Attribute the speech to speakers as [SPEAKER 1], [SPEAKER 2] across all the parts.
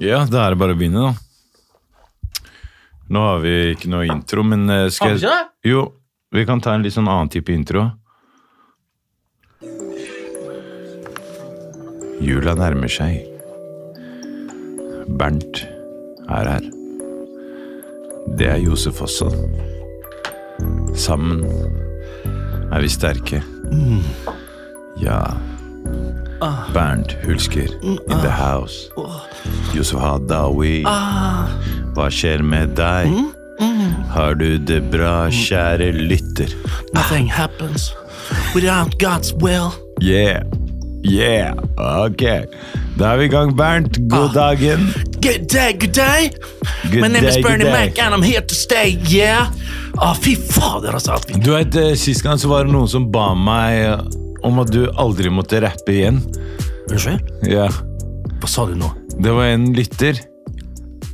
[SPEAKER 1] Ja, da er det bare å begynne, da. Nå har vi ikke noe intro, men eh, skal
[SPEAKER 2] Har vi ikke det?
[SPEAKER 1] Jo, vi kan ta en litt sånn annen type intro. Jula nærmer seg. Bernt er her. Det er Josef også. Sammen er vi sterke. Ja. Bernt Hulsker in the house. Josef Hadaoui. Ah. Hva skjer med deg? Har du det bra, kjære lytter?
[SPEAKER 2] Nothing
[SPEAKER 1] Ah.
[SPEAKER 2] happens without God's will.
[SPEAKER 1] Yeah. Yeah. Ok. Da er vi i gang, Bernt. God dagen.
[SPEAKER 2] Good day, good day.
[SPEAKER 1] Good
[SPEAKER 2] My name
[SPEAKER 1] day,
[SPEAKER 2] is
[SPEAKER 1] good
[SPEAKER 2] Bernie
[SPEAKER 1] day.
[SPEAKER 2] Mac, and I'm here to stay, yeah. Å, fy fader, altså. At vi...
[SPEAKER 1] Du vet, eh, Sist gang så var det noen som ba meg eh, om at du aldri måtte rappe igjen.
[SPEAKER 2] Unnskyld?
[SPEAKER 1] Ja.
[SPEAKER 2] Hva sa du nå?
[SPEAKER 1] Det var en lytter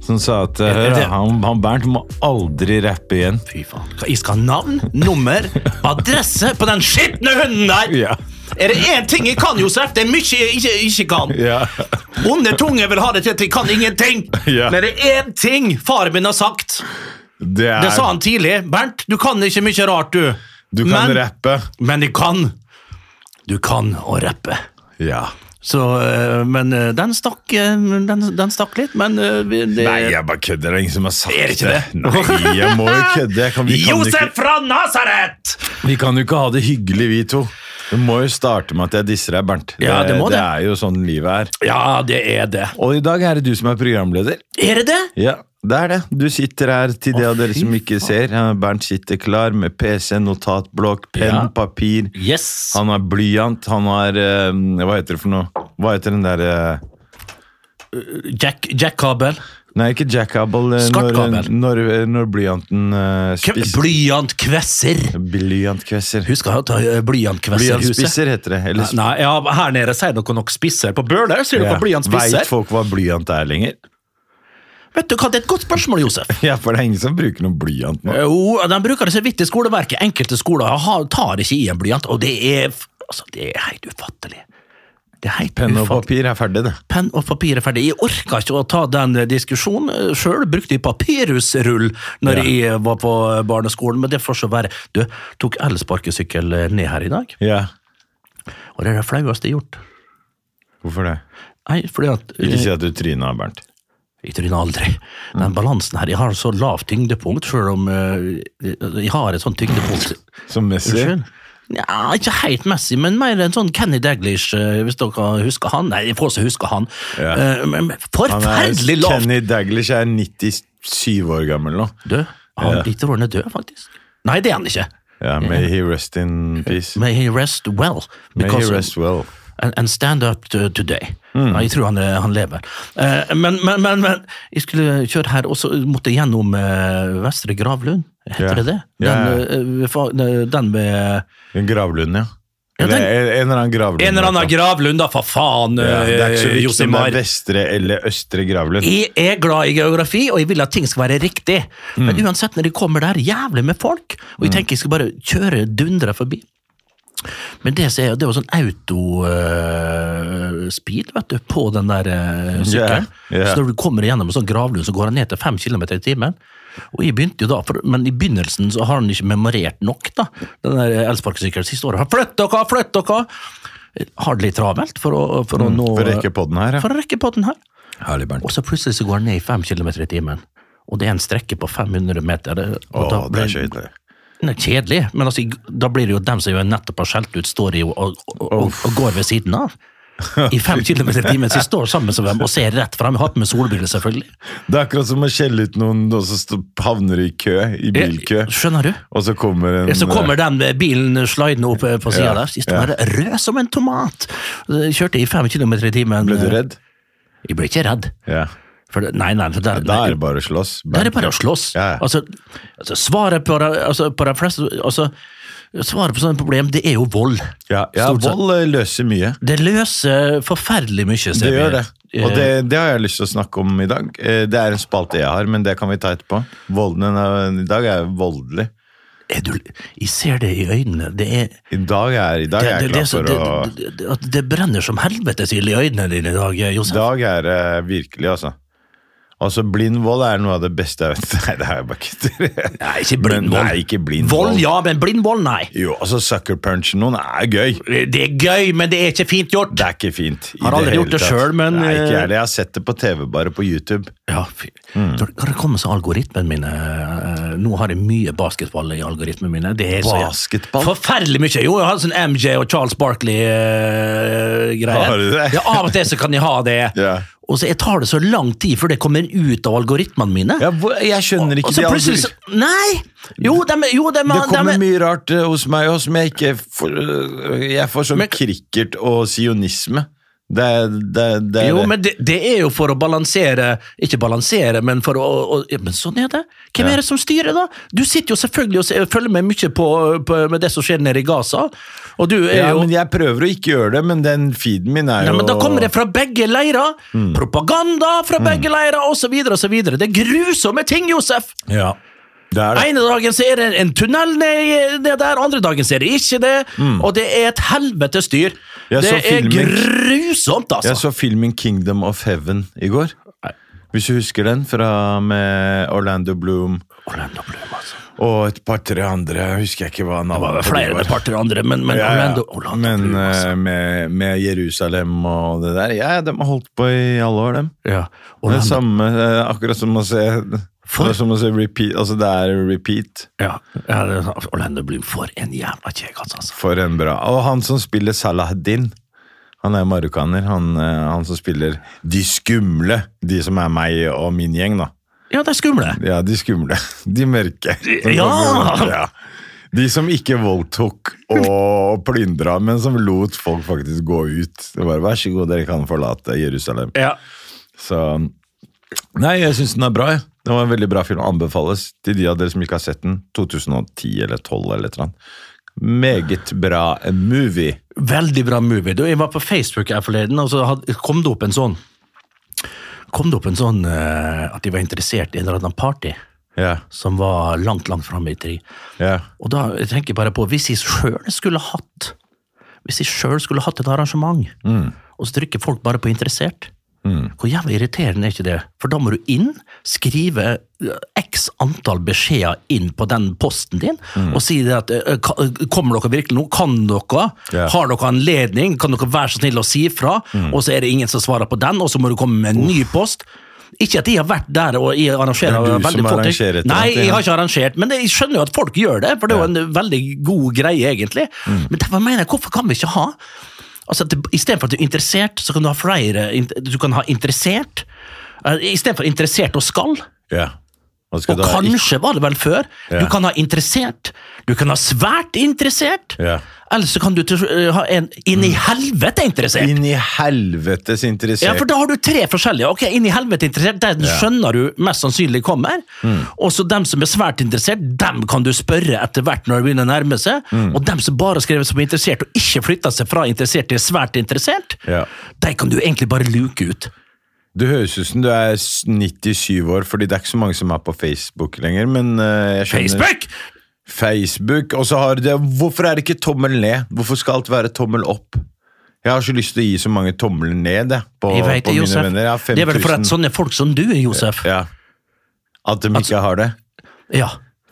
[SPEAKER 1] som sa at eh,
[SPEAKER 2] Er
[SPEAKER 1] Hør,
[SPEAKER 2] det-
[SPEAKER 1] han, han Bernt må aldri rappe igjen.
[SPEAKER 2] Fy faen. Hva, Jeg skal ha navn, nummer, adresse på den skitne hunden der!
[SPEAKER 1] Ja.
[SPEAKER 2] Er det én ting jeg kan, Josef? Det er mye jeg ikke, ikke kan.
[SPEAKER 1] Ja.
[SPEAKER 2] Onde tunger vil ha det til at jeg kan ingenting.
[SPEAKER 1] Ja.
[SPEAKER 2] Men det er én ting faren min har sagt.
[SPEAKER 1] Det er
[SPEAKER 2] Det sa han tidlig. Bernt, du kan ikke mye rart, du.
[SPEAKER 1] Du kan
[SPEAKER 2] men,
[SPEAKER 1] rappe.
[SPEAKER 2] Men du kan. Du kan å rappe.
[SPEAKER 1] Ja.
[SPEAKER 2] Så, eh, men eh, den stakk, eh, den, den stakk litt, men eh, vi- det
[SPEAKER 1] Nei, jeg bare kødder. Det er ingen som har sagt
[SPEAKER 2] Er det ikke det?
[SPEAKER 1] Nei, jeg må jo kødde. Jeg kan, vi, kan jo
[SPEAKER 2] Josef
[SPEAKER 1] ikke,
[SPEAKER 2] fra Nasaret!
[SPEAKER 1] vi kan jo ikke ha det hyggelig, vi to. Du må jo starte med at jeg disser deg, Bernt.
[SPEAKER 2] Ja, det må det.
[SPEAKER 1] det er jo sånn livet er.
[SPEAKER 2] Ja, det er det.
[SPEAKER 1] Og i dag er det du som er programleder.
[SPEAKER 2] Er det det?
[SPEAKER 1] Ja, det er det. Du sitter her til de av dere som ikke ser. Ja, Bernt sitter klar med PC, notatblokk, penn,
[SPEAKER 2] Ja.
[SPEAKER 1] papir.
[SPEAKER 2] Yes.
[SPEAKER 1] Han har blyant, han har eh, Hva heter det for noe? Hva heter den eh, derre
[SPEAKER 2] Jack, Jack Kabel.
[SPEAKER 1] Nei, ikke jackable. eh, Når,
[SPEAKER 2] Skartkabel.
[SPEAKER 1] når, når blyanten uh, spiser
[SPEAKER 2] Blyantkvesser.
[SPEAKER 1] Blyantkvesser.
[SPEAKER 2] Husk å ta eh, blyantkvesserhuset.
[SPEAKER 1] Blyantspisser heter det. Eller
[SPEAKER 2] Nei, ja, her nede sier dere nok spisser. På Bøler sier dere
[SPEAKER 1] ja.
[SPEAKER 2] blyantspisser.
[SPEAKER 1] Veit folk hva blyant er lenger?
[SPEAKER 2] Vet du hva, det er et godt spørsmål, Josef.
[SPEAKER 1] Ja, for det er ingen som bruker noen blyant nå.
[SPEAKER 2] Jo, de bruker det så vidt i skoleverket. Enkelte skoler har, tar ikke i en blyant, og det er, f- altså, det er helt ufattelig. Det er helt
[SPEAKER 1] Penn og
[SPEAKER 2] ufattelig.
[SPEAKER 1] papir er ferdig, det.
[SPEAKER 2] Penn og papir er ferdig. Jeg orka ikke å ta den eh, diskusjonen sjøl. Brukte jeg papirusrull når jeg var på eh, barneskolen, men det får så være. Du, tok elsparkesykkel eh, ned her i dag,
[SPEAKER 1] Ja.
[SPEAKER 2] og det er det flaueste jeg har gjort.
[SPEAKER 1] Hvorfor det?
[SPEAKER 2] Nei, fordi at eh,
[SPEAKER 1] Ikke si at du tryna, Bernt.
[SPEAKER 2] Jeg tryner aldri.
[SPEAKER 1] Mm.
[SPEAKER 2] Den balansen her Jeg har så lavt tyngdepunkt, sjøl om eh, jeg har et sånt tyngdepunkt
[SPEAKER 1] Som Messi.
[SPEAKER 2] Unnskyld? Ja, ikke helt Messi, men mer en sånn Kenny Daglish, eh, hvis dere husker han. Nei, de få som husker han.
[SPEAKER 1] Ja.
[SPEAKER 2] Eh, men- men
[SPEAKER 1] Han er,
[SPEAKER 2] Forferdelig lavt!
[SPEAKER 1] Kenny Daglish er 97 år gammel nå.
[SPEAKER 2] Død. Han Peter Orne er død, faktisk. Nei, det er han ikke.
[SPEAKER 1] Ja, May he rest in peace.
[SPEAKER 2] May he rest well.
[SPEAKER 1] May he
[SPEAKER 2] because-
[SPEAKER 1] rest Mm. well.
[SPEAKER 2] and, and stand up to, today. Ja, jeg tror han, eh, han lever. Eh, men, men, men, men jeg skulle kjøre her, og så måtte jeg gjennom eh, Vestre Gravlund. Heter
[SPEAKER 1] Ja.
[SPEAKER 2] det det? Den,
[SPEAKER 1] Ja, ja.
[SPEAKER 2] eh, fa- den med
[SPEAKER 1] En gravlund, ja.
[SPEAKER 2] Ja,
[SPEAKER 1] Eller,
[SPEAKER 2] den-
[SPEAKER 1] en, en eller annen gravlund.
[SPEAKER 2] En eller annen
[SPEAKER 1] i hvert fall.
[SPEAKER 2] gravlund, da, for faen,
[SPEAKER 1] Ja, det er ikke så viktig
[SPEAKER 2] eh,
[SPEAKER 1] om det
[SPEAKER 2] Josimar.
[SPEAKER 1] er vestre eller østre gravlund.
[SPEAKER 2] Jeg er glad i geografi, og jeg vil at ting skal være riktig. Men
[SPEAKER 1] Mm.
[SPEAKER 2] uansett, når de kommer der, jævlig med folk, og jeg tenker jeg skal bare kjøre dundre forbi. Men det, som er, det er jo sånn autospeed, vet du, på den der eh, sykkelen.
[SPEAKER 1] Ja, ja.
[SPEAKER 2] Så når du kommer gjennom en sånn gravlund, så går han ned til fem kilometer i timen. Og jeg begynte jo da, for, Men i begynnelsen så har han ikke memorert nok, da. Den der eh, elsparkesykkelen siste året. Flytt dere, flytt dere! Har det litt travelt for å, for å nå
[SPEAKER 1] Mm, For å rekke podden her, ja.
[SPEAKER 2] For å rekke på den her.
[SPEAKER 1] Herlig, Bernt.
[SPEAKER 2] Og så plutselig så går den ned i 5 km i timen. Og det er en strekke på 500 meter. Det-
[SPEAKER 1] Å,
[SPEAKER 2] og da
[SPEAKER 1] det
[SPEAKER 2] blir-
[SPEAKER 1] er så hyggelig.
[SPEAKER 2] Nei, kjedelig, men altså, da blir det jo dem som jo nettopp har skjelt ut, står jo og, og, og, og går ved siden av. I 5 km i timen, så jeg står sammen som dem og ser rett frem. Jeg har på meg solbriller, selvfølgelig.
[SPEAKER 1] Det er akkurat som å skjelle ut noen og så stå- havner i kø, i bilkø,
[SPEAKER 2] Skjønner du?
[SPEAKER 1] og så kommer en
[SPEAKER 2] Så kommer den eh, bilen slidende opp eh, på sida
[SPEAKER 1] Ja,
[SPEAKER 2] der. Jeg står bare rød som en tomat. Kjørte i 5 km i timen.
[SPEAKER 1] Ble du redd?
[SPEAKER 2] Jeg ble ikke redd.
[SPEAKER 1] Ja.
[SPEAKER 2] For, det- nei, nei, det der,
[SPEAKER 1] Da er det bare å slåss.
[SPEAKER 2] Da er det
[SPEAKER 1] Bernt.
[SPEAKER 2] bare å slåss.
[SPEAKER 1] Ja, ja.
[SPEAKER 2] Altså, altså, svaret på de, altså, på de fleste altså, Svaret på sånne problem, det er jo vold.
[SPEAKER 1] Ja, ja
[SPEAKER 2] Stort sett.
[SPEAKER 1] vold eh, løser mye.
[SPEAKER 2] Det løser forferdelig mye. ser
[SPEAKER 1] Det
[SPEAKER 2] vi.
[SPEAKER 1] gjør det. Og
[SPEAKER 2] Eh,
[SPEAKER 1] det, det har jeg lyst til å snakke om i dag. Eh, Det er en spalte jeg har, men det kan vi ta etterpå. Volden i dag er voldelig.
[SPEAKER 2] er du, jeg ser det i øynene. Det er
[SPEAKER 1] I dag er, i dag
[SPEAKER 2] det,
[SPEAKER 1] er jeg
[SPEAKER 2] det, det, er
[SPEAKER 1] klar
[SPEAKER 2] så-
[SPEAKER 1] for
[SPEAKER 2] det,
[SPEAKER 1] å
[SPEAKER 2] det, det, at det brenner som helvetes ild i øynene dine i dag, eh,
[SPEAKER 1] I
[SPEAKER 2] Josef.
[SPEAKER 1] dag er det virkelig, altså. Altså, blind vold er noe av det beste jeg vet. Nei, det er jeg bare kødder.
[SPEAKER 2] Nei, ikke blind
[SPEAKER 1] Men
[SPEAKER 2] vold.
[SPEAKER 1] Nei, ikke blind
[SPEAKER 2] vold,
[SPEAKER 1] vold.
[SPEAKER 2] ja, men blind vold, nei.
[SPEAKER 1] Jo, altså, sucker punch noen er gøy.
[SPEAKER 2] Det er gøy, men det er ikke fint gjort.
[SPEAKER 1] Det er ikke fint. i
[SPEAKER 2] Har aldri
[SPEAKER 1] hele
[SPEAKER 2] gjort det
[SPEAKER 1] tatt.
[SPEAKER 2] selv, men,
[SPEAKER 1] Nei, ikke
[SPEAKER 2] eh,
[SPEAKER 1] jeg. Jeg har sett det på TV, bare på YouTube.
[SPEAKER 2] Ja, fy.
[SPEAKER 1] Mm.
[SPEAKER 2] Når Når det kommer til algoritmene mine eh, Nå har jeg mye basketball i algoritmene mine. Det er så
[SPEAKER 1] Basketball?
[SPEAKER 2] Forferdelig mye. Jo, jeg har sånn MJ og Charles Barkley-greier.
[SPEAKER 1] Har du det?
[SPEAKER 2] ja, av og til så kan jeg ha det.
[SPEAKER 1] Ja.
[SPEAKER 2] Og så jeg tar det så lang tid før det kommer ut av algoritmene mine.
[SPEAKER 1] Ja, hvor- jeg skjønner ikke
[SPEAKER 2] og så
[SPEAKER 1] de
[SPEAKER 2] plutselig så
[SPEAKER 1] algoritmene.
[SPEAKER 2] Nei! Jo, de, jo, de,
[SPEAKER 1] Det
[SPEAKER 2] de,
[SPEAKER 1] kommer mye rart eh, hos meg også, men jeg ikke får øh, Jeg får sånn
[SPEAKER 2] Men-
[SPEAKER 1] cricket og sionisme. Det er det. er- det, er
[SPEAKER 2] Jo,
[SPEAKER 1] det.
[SPEAKER 2] men det, det er jo for å balansere Ikke balansere, men for å, å ja, Men sånn er det. Hvem
[SPEAKER 1] Ja.
[SPEAKER 2] er det som styrer, da? Du sitter jo selvfølgelig og se- følger med mye på, på med det som skjer nede i Gaza. Og du er
[SPEAKER 1] ja,
[SPEAKER 2] jo
[SPEAKER 1] men jeg prøver å ikke gjøre det, men den feeden min er
[SPEAKER 2] Nei,
[SPEAKER 1] jo
[SPEAKER 2] men Da kommer det fra begge leirer!
[SPEAKER 1] Mm.
[SPEAKER 2] Propaganda fra begge leirer, osv. osv. Det er grusomme ting, Josef!
[SPEAKER 1] Ja, det er det.
[SPEAKER 2] Ene dagen så er det en tunnel ned, ned der, andre dagen så er det ikke det. Og det er et helvetes styr.
[SPEAKER 1] Jeg Mm.
[SPEAKER 2] Det
[SPEAKER 1] så
[SPEAKER 2] er
[SPEAKER 1] filmen.
[SPEAKER 2] grusomt, altså!
[SPEAKER 1] Jeg så filmen Kingdom of Heaven i går.
[SPEAKER 2] Nei.
[SPEAKER 1] Hvis du husker den, fra med Orlando Bloom
[SPEAKER 2] Orlando Bloom, altså.
[SPEAKER 1] og et par-tre andre. Jeg husker ikke hva
[SPEAKER 2] Det var
[SPEAKER 1] navnet
[SPEAKER 2] vel flere
[SPEAKER 1] var.
[SPEAKER 2] parter andre, men, men
[SPEAKER 1] Ja, ja.
[SPEAKER 2] Orlando, Orlando
[SPEAKER 1] men
[SPEAKER 2] Bloom, altså.
[SPEAKER 1] eh, med, med Jerusalem og det der. Ja, ja, de har holdt på i alle år, dem.
[SPEAKER 2] ja.
[SPEAKER 1] Det er
[SPEAKER 2] Orlando,
[SPEAKER 1] samme, eh, akkurat som å se
[SPEAKER 2] For-
[SPEAKER 1] Det er som å se repeat, altså det er repeat
[SPEAKER 2] ja. Ja, det er sant. Orlando Bloom for en jævla kjekkas, altså.
[SPEAKER 1] for en bra. Og han som spiller Salahdin, han er marokkaner. Han, eh, han som spiller de skumle, de som er meg og min gjeng, da.
[SPEAKER 2] Ja, det er skumle.
[SPEAKER 1] Ja, de skumle. De mørke.
[SPEAKER 2] Ja!
[SPEAKER 1] ja. De som ikke voldtok og plyndra, men som lot folk faktisk gå ut. Det var, Vær så god, dere kan forlate Jerusalem.
[SPEAKER 2] Ja.
[SPEAKER 1] Så Nei, jeg syns den er bra. jeg. Den var en veldig bra film. Anbefales til de av dere som ikke har sett den. 2010 eller 12 eller et eller annet. Meget bra movie.
[SPEAKER 2] Veldig bra movie. Du, jeg var på Facebook her forleden, og så had, kom det opp en sånn Kom det opp en sånn eh, at de var interessert i en eller annen party
[SPEAKER 1] Ja,
[SPEAKER 2] som var langt, langt framme i tid.
[SPEAKER 1] ja.
[SPEAKER 2] Og da jeg tenker jeg bare på, hvis jeg sjøl skulle hatt Hvis jeg sjøl skulle hatt et arrangement, og så trykker folk bare på 'interessert', hvor jævlig irriterende er ikke det? For da må du inn, skrive eh, x antall beskjeder inn på den posten din, og si det at eh, ka- eh, 'kommer dere virkelig nå? Kan dere?
[SPEAKER 1] Ja.
[SPEAKER 2] Har dere anledning? Kan dere være så snill å si fra?' Og så er det ingen som svarer på den, og så må du komme med en ny post. Ikke at jeg har vært der og jeg arrangerer
[SPEAKER 1] Det er du
[SPEAKER 2] veldig
[SPEAKER 1] som
[SPEAKER 2] flott.
[SPEAKER 1] arrangerer et eller
[SPEAKER 2] Nei,
[SPEAKER 1] annet,
[SPEAKER 2] jeg
[SPEAKER 1] ja.
[SPEAKER 2] har ikke arrangert, men jeg skjønner jo at folk gjør det, for det er jo en veldig god greie, egentlig.
[SPEAKER 1] Mm.
[SPEAKER 2] Men derfor mener jeg, hvorfor kan vi ikke ha Altså, at det, Istedenfor at du er interessert, så kan du ha flere int- Du kan ha interessert. eh, i stedet for interessert og skal,
[SPEAKER 1] ja. Hva skal
[SPEAKER 2] og
[SPEAKER 1] du ha?
[SPEAKER 2] kanskje var det vel før.
[SPEAKER 1] Ja.
[SPEAKER 2] Du kan ha interessert, du kan ha svært interessert,
[SPEAKER 1] Ja. Mm.
[SPEAKER 2] eller så kan du til- eh, ha en inn i helvete interessert.
[SPEAKER 1] Inn i helvetes interessert.
[SPEAKER 2] Ja, for da har du tre forskjellige. Ok, Inn i helvete interessert, den skjønner du mest sannsynlig kommer.
[SPEAKER 1] Mm.
[SPEAKER 2] Og så dem som er svært interessert, dem kan du spørre etter hvert når det begynner å nærme seg.
[SPEAKER 1] Mm.
[SPEAKER 2] Og dem som bare skrev som er interessert, og ikke flytta seg fra interessert til svært interessert,
[SPEAKER 1] Ja.
[SPEAKER 2] de kan du egentlig bare luke ut.
[SPEAKER 1] Du høres ut som du er 97 år, fordi det er ikke så mange som er på Facebook lenger. Men eh, jeg skjønner
[SPEAKER 2] Facebook!
[SPEAKER 1] Facebook, og så har det Hvorfor er det ikke tommel ned? Hvorfor skal alt være tommel opp? Jeg har så lyst til å gi så mange tommel ned jeg, på,
[SPEAKER 2] Jeg vet
[SPEAKER 1] på
[SPEAKER 2] det,
[SPEAKER 1] mine
[SPEAKER 2] Josef.
[SPEAKER 1] venner. Jeg har 5000.
[SPEAKER 2] Det er vel for at sånne folk som du, Josef.
[SPEAKER 1] ja. At de ikke har det.
[SPEAKER 2] Ja.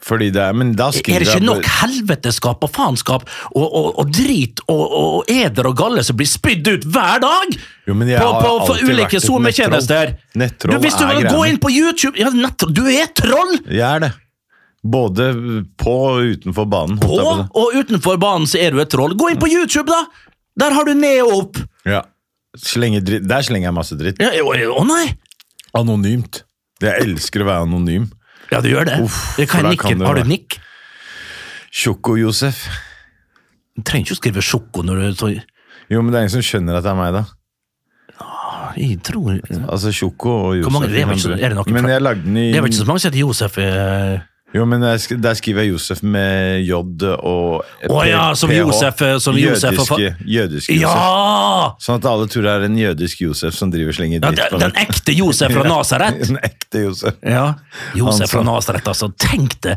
[SPEAKER 1] Fordi det er, men da
[SPEAKER 2] Altså- Er
[SPEAKER 1] skriver
[SPEAKER 2] det ikke
[SPEAKER 1] jeg på-
[SPEAKER 2] nok helveteskap og faenskap og, og, og drit og, og eder og galle som blir spydd ut hver dag?
[SPEAKER 1] Jo, men jeg
[SPEAKER 2] på,
[SPEAKER 1] har
[SPEAKER 2] på, på
[SPEAKER 1] alltid vært
[SPEAKER 2] ulike
[SPEAKER 1] et
[SPEAKER 2] SoMe-tjenester.
[SPEAKER 1] nettroll. Nettroll
[SPEAKER 2] Du, Hvis du
[SPEAKER 1] er
[SPEAKER 2] vil gå
[SPEAKER 1] greiene.
[SPEAKER 2] inn på YouTube ja, nettroll, Du er troll!
[SPEAKER 1] Jeg er det. Både på og utenfor banen. holdt
[SPEAKER 2] På
[SPEAKER 1] jeg på å si.
[SPEAKER 2] og utenfor banen så er du et troll. Gå inn på YouTube, da! Der har du ned og opp.
[SPEAKER 1] Ja. Slenger dritt. Der slenger jeg masse dritt.
[SPEAKER 2] Ja, Å å nei!
[SPEAKER 1] Anonymt. Jeg elsker å være anonym.
[SPEAKER 2] Ja, du gjør det.
[SPEAKER 1] Uff,
[SPEAKER 2] det kan
[SPEAKER 1] for da
[SPEAKER 2] jeg nikke.
[SPEAKER 1] kan det
[SPEAKER 2] har
[SPEAKER 1] være.
[SPEAKER 2] du nikk?
[SPEAKER 1] Sjoko-Josef.
[SPEAKER 2] Du trenger ikke å skrive sjoko når du så,
[SPEAKER 1] Jo, men det er ingen som skjønner at det er meg, da.
[SPEAKER 2] Jeg tror
[SPEAKER 1] Altså Sjoko og Josef.
[SPEAKER 2] Hvor mange- det er vel ikke så- er det noen
[SPEAKER 1] men
[SPEAKER 2] fra-
[SPEAKER 1] jeg lagde den i
[SPEAKER 2] Det er vel ikke så mange som heter Josef eh,
[SPEAKER 1] Jo, men jeg sk- der skriver jeg Josef med J og P-
[SPEAKER 2] Å ja, som
[SPEAKER 1] PH.
[SPEAKER 2] Josef, eh, som Josef og fa-
[SPEAKER 1] Jødiske, jødiske Josef.
[SPEAKER 2] Ja!
[SPEAKER 1] Sånn at alle tror det er en jødisk Josef som driver og slenger
[SPEAKER 2] ja
[SPEAKER 1] dritt
[SPEAKER 2] den,
[SPEAKER 1] på
[SPEAKER 2] den ekte Josef fra Nasaret.
[SPEAKER 1] En ekte Josef.
[SPEAKER 2] Ja.
[SPEAKER 1] Han
[SPEAKER 2] Josef
[SPEAKER 1] sa-
[SPEAKER 2] fra Nasaret, altså. Tenk det!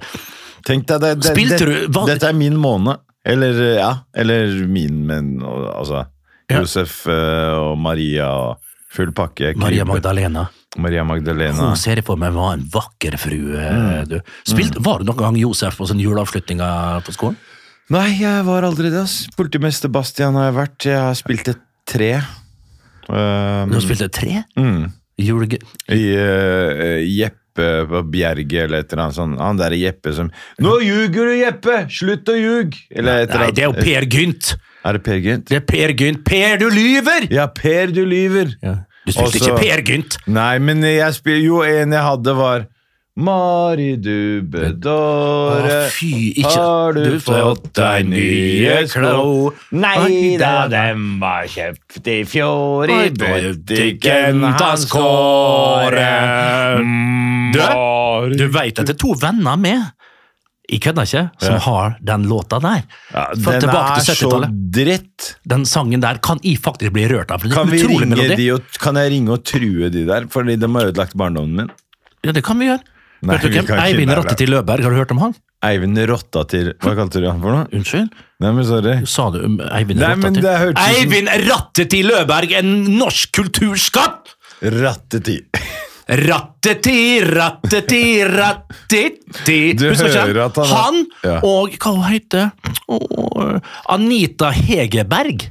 [SPEAKER 1] Tenk deg det, det,
[SPEAKER 2] Spilte
[SPEAKER 1] det,
[SPEAKER 2] du- hva-
[SPEAKER 1] Dette er min måned. Eller ja, eller min, men og- altså
[SPEAKER 2] Ja.
[SPEAKER 1] Josef eh, og Maria og full pakke.
[SPEAKER 2] Maria
[SPEAKER 1] Krype.
[SPEAKER 2] Magdalena.
[SPEAKER 1] Maria Magdalena.
[SPEAKER 2] Hun ser jeg for meg var en vakker frue.
[SPEAKER 1] Mm.
[SPEAKER 2] Du. Spilt, Var du noen gang Josef på sånn juleavslutninger på skolen?
[SPEAKER 1] Nei, jeg var aldri det. ass. Politimester Bastian har jeg vært. Jeg har spilt et tre. Um,
[SPEAKER 2] Du spilte tre?
[SPEAKER 1] Mm.
[SPEAKER 2] Juleg...
[SPEAKER 1] I eh, Jeppe på Bjerge eller et eller annet sånt. Han derre Jeppe som Nå ljuger du, Jeppe! Slutt å ljuge! Eller et eller
[SPEAKER 2] Nei,
[SPEAKER 1] annet.
[SPEAKER 2] det er jo Per Gynt!
[SPEAKER 1] Er det Per Gynt?
[SPEAKER 2] Det er Per Gynt. Per, du lyver!
[SPEAKER 1] Ja, Per, du lyver!
[SPEAKER 2] Du spilte
[SPEAKER 1] Også-
[SPEAKER 2] ikke Per Gynt!
[SPEAKER 1] Nei, men jeg spiller Jo, en jeg hadde, var Mari, du bedåre.
[SPEAKER 2] Å, fy, ikke-
[SPEAKER 1] Har du,
[SPEAKER 2] Du
[SPEAKER 1] fått deg nye klo? Nei da, dem var kjøpt i fjor i
[SPEAKER 2] Oi, det var jo
[SPEAKER 1] butikken
[SPEAKER 2] Dickens
[SPEAKER 1] hans
[SPEAKER 2] Kåre. Mm.
[SPEAKER 1] Kåre.
[SPEAKER 2] Du, du veit at det er to venner med, jeg kødder ikke, som
[SPEAKER 1] Ja.
[SPEAKER 2] har den låta der.
[SPEAKER 1] Ja,
[SPEAKER 2] Fra
[SPEAKER 1] den
[SPEAKER 2] tilbake
[SPEAKER 1] er
[SPEAKER 2] til
[SPEAKER 1] så
[SPEAKER 2] 70-tallet.
[SPEAKER 1] dritt.
[SPEAKER 2] Den sangen der kan jeg faktisk bli rørt av. for det er
[SPEAKER 1] Kan,
[SPEAKER 2] en
[SPEAKER 1] vi
[SPEAKER 2] utrolig
[SPEAKER 1] ringe
[SPEAKER 2] melodi.
[SPEAKER 1] de og, kan jeg ringe og true de der? Fordi de har ødelagt barndommen min.
[SPEAKER 2] Ja, det kan vi gjøre.
[SPEAKER 1] Nei,
[SPEAKER 2] Vet du
[SPEAKER 1] vi
[SPEAKER 2] hvem?
[SPEAKER 1] kan ikke
[SPEAKER 2] Eivind
[SPEAKER 1] det, da.
[SPEAKER 2] Rotte til Løberg, har du hørt om han?
[SPEAKER 1] Eivind Rotta til Hva kalte du han for noe?
[SPEAKER 2] Unnskyld?
[SPEAKER 1] Nei, men sorry.
[SPEAKER 2] Sa du um, Eivind
[SPEAKER 1] Nei, men
[SPEAKER 2] Rotte
[SPEAKER 1] det
[SPEAKER 2] til?
[SPEAKER 1] hørtes ut som-
[SPEAKER 2] Eivind Rotte til Løberg, en norsk kulturskatt!
[SPEAKER 1] Ratteti.
[SPEAKER 2] Ratteti, ratteti, ratteti
[SPEAKER 1] Du
[SPEAKER 2] Husker ikke?
[SPEAKER 1] hører at han er-
[SPEAKER 2] Han
[SPEAKER 1] Ja.
[SPEAKER 2] og hva hun heter Åh, Anita Hegerberg.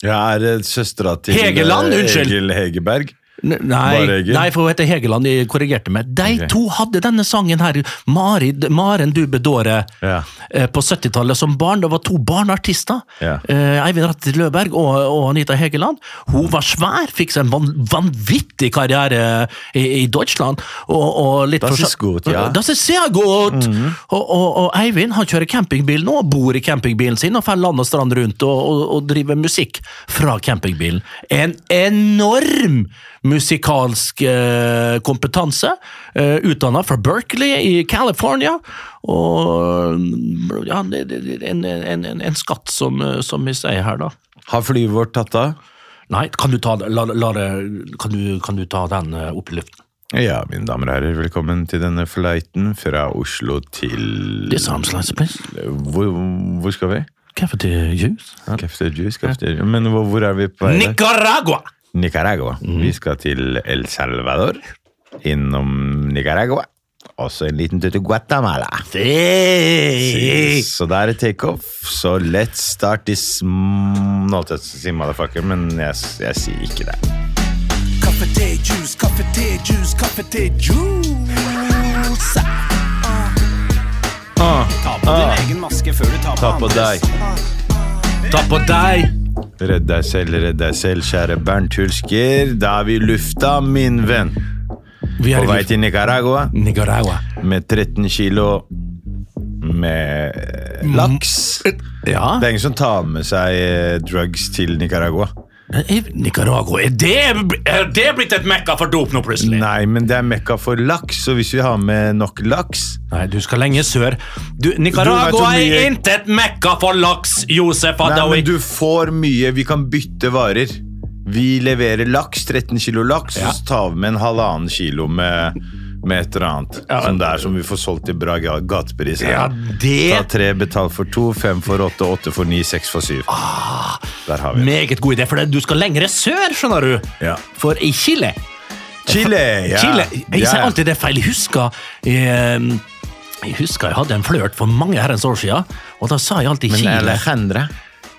[SPEAKER 1] Jeg er eh, søstera til
[SPEAKER 2] Hegeland,
[SPEAKER 1] eh,
[SPEAKER 2] unnskyld.
[SPEAKER 1] Egil Hegerberg.
[SPEAKER 2] N-
[SPEAKER 1] Bare
[SPEAKER 2] Nei,
[SPEAKER 1] Egil.
[SPEAKER 2] nei, for hun heter Hegeland, de korrigerte meg. De
[SPEAKER 1] Ok.
[SPEAKER 2] to hadde denne sangen her, Mari, Maren du bedåre,
[SPEAKER 1] Ja.
[SPEAKER 2] eh, på 70-tallet som barn. Det var to barneartister.
[SPEAKER 1] Ja.
[SPEAKER 2] Eh, Eivind Ratti Løberg og, og Anita Hegeland. Hun var svær, fikk seg en van, vanvittig karriere i, i Deutschland. Og, og litt
[SPEAKER 1] Das ist gut, ja.
[SPEAKER 2] Das ist sehr gut! og, og, og Eivind han kjører campingbil nå, og bor i campingbilen sin og fer land og strand rundt og, og, og driver musikk fra campingbilen. En enorm musikalsk eh, kompetanse. Eh, Utdanna fra Berkeley i California. Og mm, ja, det- det- det- en, en, en, en skatt, som, eh, som vi sier her, da.
[SPEAKER 1] Har flyet vårt tatt av?
[SPEAKER 2] Nei, kan du ta, la, la, det- kan du, kan du ta den eh, opp i luften?
[SPEAKER 1] Ja, mine damer og herrer, velkommen til denne flighten fra Oslo til
[SPEAKER 2] This arms slice, please.
[SPEAKER 1] Hvor, hvor skal vi?
[SPEAKER 2] Cavity juice.
[SPEAKER 1] Kefter juice, kefter Men hvor, hvor er vi på vei?
[SPEAKER 2] Nicaragua!
[SPEAKER 1] Nicaragua. Vi skal til El Salvador, innom Nicaragua, og så en liten tur til Guatemala.
[SPEAKER 2] Hey.
[SPEAKER 1] Så det er et takeoff, så let's start this m- Nå holdt jeg til å si motherfucker, men jeg, s- jeg sier ikke det.
[SPEAKER 3] Kaffe, te, juice, kaffe, te, juice, kaffe, te, juice. Ta på din egen maske før du tar på
[SPEAKER 1] Ah. Ta på
[SPEAKER 3] andres.
[SPEAKER 1] deg.
[SPEAKER 2] Ta på deg!
[SPEAKER 1] Redd deg selv, redd deg selv, kjære Bernt Hulsker. Da er vi i lufta, min venn.
[SPEAKER 2] Vi
[SPEAKER 1] På
[SPEAKER 2] er
[SPEAKER 1] vei
[SPEAKER 2] i
[SPEAKER 1] til Nicaragua
[SPEAKER 2] Nicaragua.
[SPEAKER 1] med 13 kilo med eh, laks.
[SPEAKER 2] Mm. Ja,
[SPEAKER 1] Det er ingen som tar med seg eh, drugs til Nicaragua.
[SPEAKER 2] i Nicaragua. Er det, er det blitt et mekka for dop nå, plutselig?
[SPEAKER 1] Nei, men det er mekka for laks, og hvis vi har med nok laks
[SPEAKER 2] Nei, du skal lenge sør.
[SPEAKER 1] Du
[SPEAKER 2] Du,
[SPEAKER 1] vet
[SPEAKER 2] Nicaragua
[SPEAKER 1] hvor mye-
[SPEAKER 2] er intet mekka for laks, Josef
[SPEAKER 1] Nei,
[SPEAKER 2] Adawi.
[SPEAKER 1] men du får mye. Vi kan bytte varer. Vi leverer laks, 13 kilo laks, og så tar vi med en halvannen kilo med, med et eller annet. Som det er som vi får solgt til bra ga- gatepris. her.
[SPEAKER 2] Ja,
[SPEAKER 1] Ta
[SPEAKER 2] det
[SPEAKER 1] tre, betal for to, fem for åtte, åtte for ni, seks for syv.
[SPEAKER 2] Ah.
[SPEAKER 1] Der har vi det.
[SPEAKER 2] Meget god idé, for det- du skal lengre sør, skjønner du.
[SPEAKER 1] Ja.
[SPEAKER 2] For i Chile
[SPEAKER 1] Chile! Ja.
[SPEAKER 2] Chile,
[SPEAKER 1] Ja,
[SPEAKER 2] Jeg
[SPEAKER 1] ja.
[SPEAKER 2] sier alltid det feil. Jeg husker eh, Jeg husker jeg hadde en flørt for mange herrens år siden, og da sa jeg alltid
[SPEAKER 1] Men
[SPEAKER 2] Chile.
[SPEAKER 1] Alejandra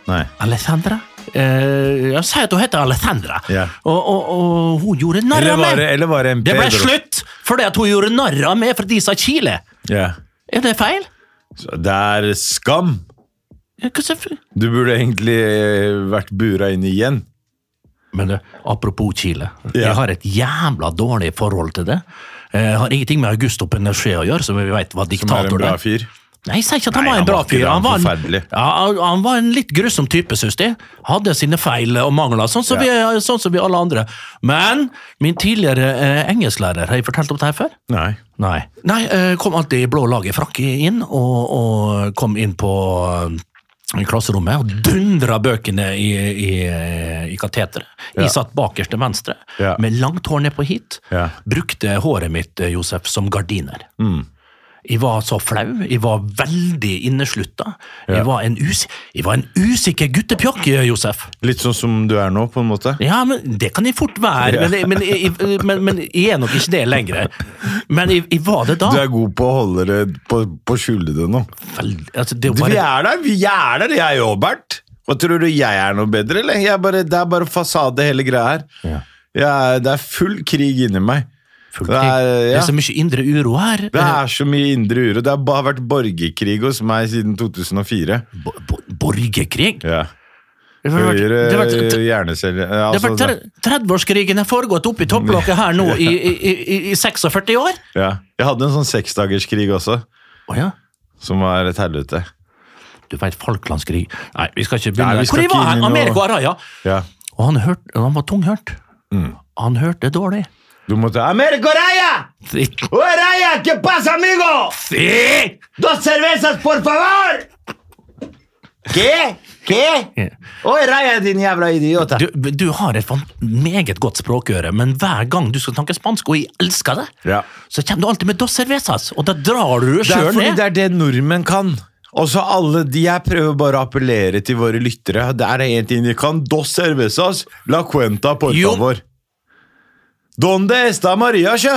[SPEAKER 1] Nei.
[SPEAKER 2] Alessandra? Eh, jeg sier at hun heter Alessandra,
[SPEAKER 1] Ja.
[SPEAKER 2] og, og, og hun gjorde narr
[SPEAKER 1] Eller
[SPEAKER 2] av
[SPEAKER 1] var
[SPEAKER 2] meg.
[SPEAKER 1] det, eller var det en
[SPEAKER 2] Det ble
[SPEAKER 1] Pedro?
[SPEAKER 2] slutt fordi at hun gjorde narr av meg fordi de sa Chile.
[SPEAKER 1] Ja.
[SPEAKER 2] Er det feil?
[SPEAKER 1] Så Det er skam!
[SPEAKER 2] Ja, hva så-
[SPEAKER 1] Du burde egentlig eh, vært bura inn igjen.
[SPEAKER 2] Men du, apropos Chile.
[SPEAKER 1] Ja.
[SPEAKER 2] Jeg har et jævla dårlig forhold til det. Eh, har ingenting med Augusto Pinochet å gjøre, som vi vet
[SPEAKER 1] Som er
[SPEAKER 2] var
[SPEAKER 1] en
[SPEAKER 2] diktator.
[SPEAKER 1] bra
[SPEAKER 2] der.
[SPEAKER 1] fyr.
[SPEAKER 2] Nei, jeg sier ikke at han
[SPEAKER 1] Nei,
[SPEAKER 2] var en
[SPEAKER 1] han
[SPEAKER 2] bra
[SPEAKER 1] var ikke
[SPEAKER 2] fyr.
[SPEAKER 1] det,
[SPEAKER 2] Han var,
[SPEAKER 1] han var
[SPEAKER 2] en,
[SPEAKER 1] forferdelig.
[SPEAKER 2] ja, han- han var en litt grusom type, syns jeg. Hadde sine feil og mangler, sånn som, vi, sånn som vi alle andre. Men min tidligere eh, engelsklærer, har jeg fortalt om det her før?
[SPEAKER 1] Nei.
[SPEAKER 2] Nei. Nei, eh, kom alltid i blå laget frakke inn, og, og kom inn på eh, i klasserommet og dundra bøkene i, i, eh, i kateteret. Jeg satt bakerst til venstre,
[SPEAKER 1] Ja.
[SPEAKER 2] med langt hår ned på hit.
[SPEAKER 1] Ja. Mm.
[SPEAKER 2] Brukte håret mitt, eh, Josef, som gardiner. Jeg var så flau, jeg var veldig inneslutta. Jeg, var en us- jeg var en usikker guttepjokk, eh, Josef.
[SPEAKER 1] Litt sånn som du er nå, på en måte.
[SPEAKER 2] Ja, men det kan jeg fort være, men, men, jeg- men, men jeg er nok ikke det lenger. Men jeg, jeg var det da.
[SPEAKER 1] Du er god på å holde det på, på å skjule det nå.
[SPEAKER 2] Veld- altså, det
[SPEAKER 1] Du,
[SPEAKER 2] var,
[SPEAKER 1] Vi er der, vi er der, jeg og Bert. Hva tror du, jeg er noe bedre, eller? Jeg er bare, det er bare fasade, hele greia her. Jeg er- det er full krig inni meg.
[SPEAKER 2] Full
[SPEAKER 1] det,
[SPEAKER 2] krig.
[SPEAKER 1] er,
[SPEAKER 2] det
[SPEAKER 1] ja,
[SPEAKER 2] er så mye indre uro her.
[SPEAKER 1] det er så mye indre uro. Det har bare vært borgerkrig hos meg siden 2004.
[SPEAKER 2] Bo- bo- Borgerkrig?
[SPEAKER 1] Ja.
[SPEAKER 2] Det har vært-
[SPEAKER 1] Høyre
[SPEAKER 2] det har vært-
[SPEAKER 1] hjerneceller ja,
[SPEAKER 2] Det har
[SPEAKER 1] altså,
[SPEAKER 2] vært 30-årskrigen har foregått oppe i topplokket her nå i, i, i, i 46 år.
[SPEAKER 1] ja. Jeg hadde en sånn seksdagerskrig også, som var et helvete.
[SPEAKER 2] Du vet, Falklandskrig Nei, vi skal ikke
[SPEAKER 1] Nei,
[SPEAKER 2] begynne
[SPEAKER 1] vi
[SPEAKER 2] der.
[SPEAKER 1] skal
[SPEAKER 2] Hvor
[SPEAKER 1] ikke
[SPEAKER 2] var
[SPEAKER 1] inn i
[SPEAKER 2] han?
[SPEAKER 1] noe-
[SPEAKER 2] Amerika og Araya.
[SPEAKER 1] Ja.
[SPEAKER 2] Og han, hørte, han var tunghørt.
[SPEAKER 1] Mm.
[SPEAKER 2] Han hørte dårlig.
[SPEAKER 1] Du måtte America Raya!
[SPEAKER 2] Si!
[SPEAKER 1] Oh, Raya! ¿Qué pasa, amigo? Dos cervezas, por favor! ¿Qué? ¿Qué? Oi, Raya, din jævla idiota!
[SPEAKER 2] Du, du har et fan- meget godt språkøre, men hver gang du skal snakke spansk, og jeg elsker det,
[SPEAKER 1] Ja.
[SPEAKER 2] så kommer du alltid med dos cervezas, og da drar du
[SPEAKER 1] Det
[SPEAKER 2] deg
[SPEAKER 1] er
[SPEAKER 2] sjøl
[SPEAKER 1] fordi
[SPEAKER 2] ned.
[SPEAKER 1] det er det nordmenn kan. Også alle de Jeg prøver bare å appellere til våre lyttere. Det er én ting de kan. Dos cervezas, la cuenta por
[SPEAKER 2] Jo.
[SPEAKER 1] favor. Donde esta Maria, sjø?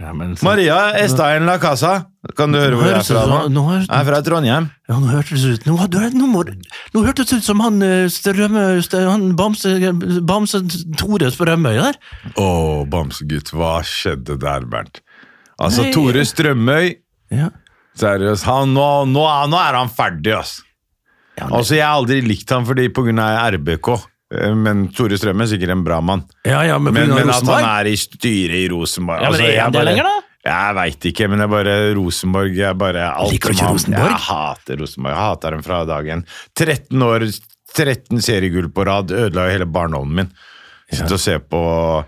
[SPEAKER 2] Ja, men, så,
[SPEAKER 1] Maria esta en la casa. Kan du høre hvor jeg er
[SPEAKER 2] Høres det
[SPEAKER 1] fra nå?
[SPEAKER 2] sånn- nå høres-
[SPEAKER 1] Jeg er fra Trondheim.
[SPEAKER 2] ja, nå hørtes det ut Nå, hadde du- nå, må, nå hørtes det ut som han eh, Strømøy Strø- Han Bamse, Bamse Tore Strømøy der.
[SPEAKER 1] Å, bamsegutt, hva skjedde der, Bernt? Altså,
[SPEAKER 2] Nei.
[SPEAKER 1] Tore Strømøy
[SPEAKER 2] Ja.
[SPEAKER 1] Seriøst, han, nå, nå, er- nå er han ferdig, ass.
[SPEAKER 2] Ja, men-
[SPEAKER 1] Altså, jeg har aldri likt han fordi på grunn av RBK, eh, men Tore Strømme er sikkert en bra mann.
[SPEAKER 2] Ja, ja, men,
[SPEAKER 1] Men,
[SPEAKER 2] pga.
[SPEAKER 1] men at han
[SPEAKER 2] Rosenborg?
[SPEAKER 1] er i styret i Rosenborg altså,
[SPEAKER 2] Ja, men er han det
[SPEAKER 1] bare-
[SPEAKER 2] lenger da?
[SPEAKER 1] Jeg veit ikke, men jeg bare Rosenborg jeg bare alt
[SPEAKER 2] Liker
[SPEAKER 1] som
[SPEAKER 2] du ikke
[SPEAKER 1] han-
[SPEAKER 2] Rosenborg?
[SPEAKER 1] Jeg hater Rosenborg. Jeg hater dem fra dagen. 13 år, 13 seriegull på rad ødela jo hele barndommen min. Sitte og se på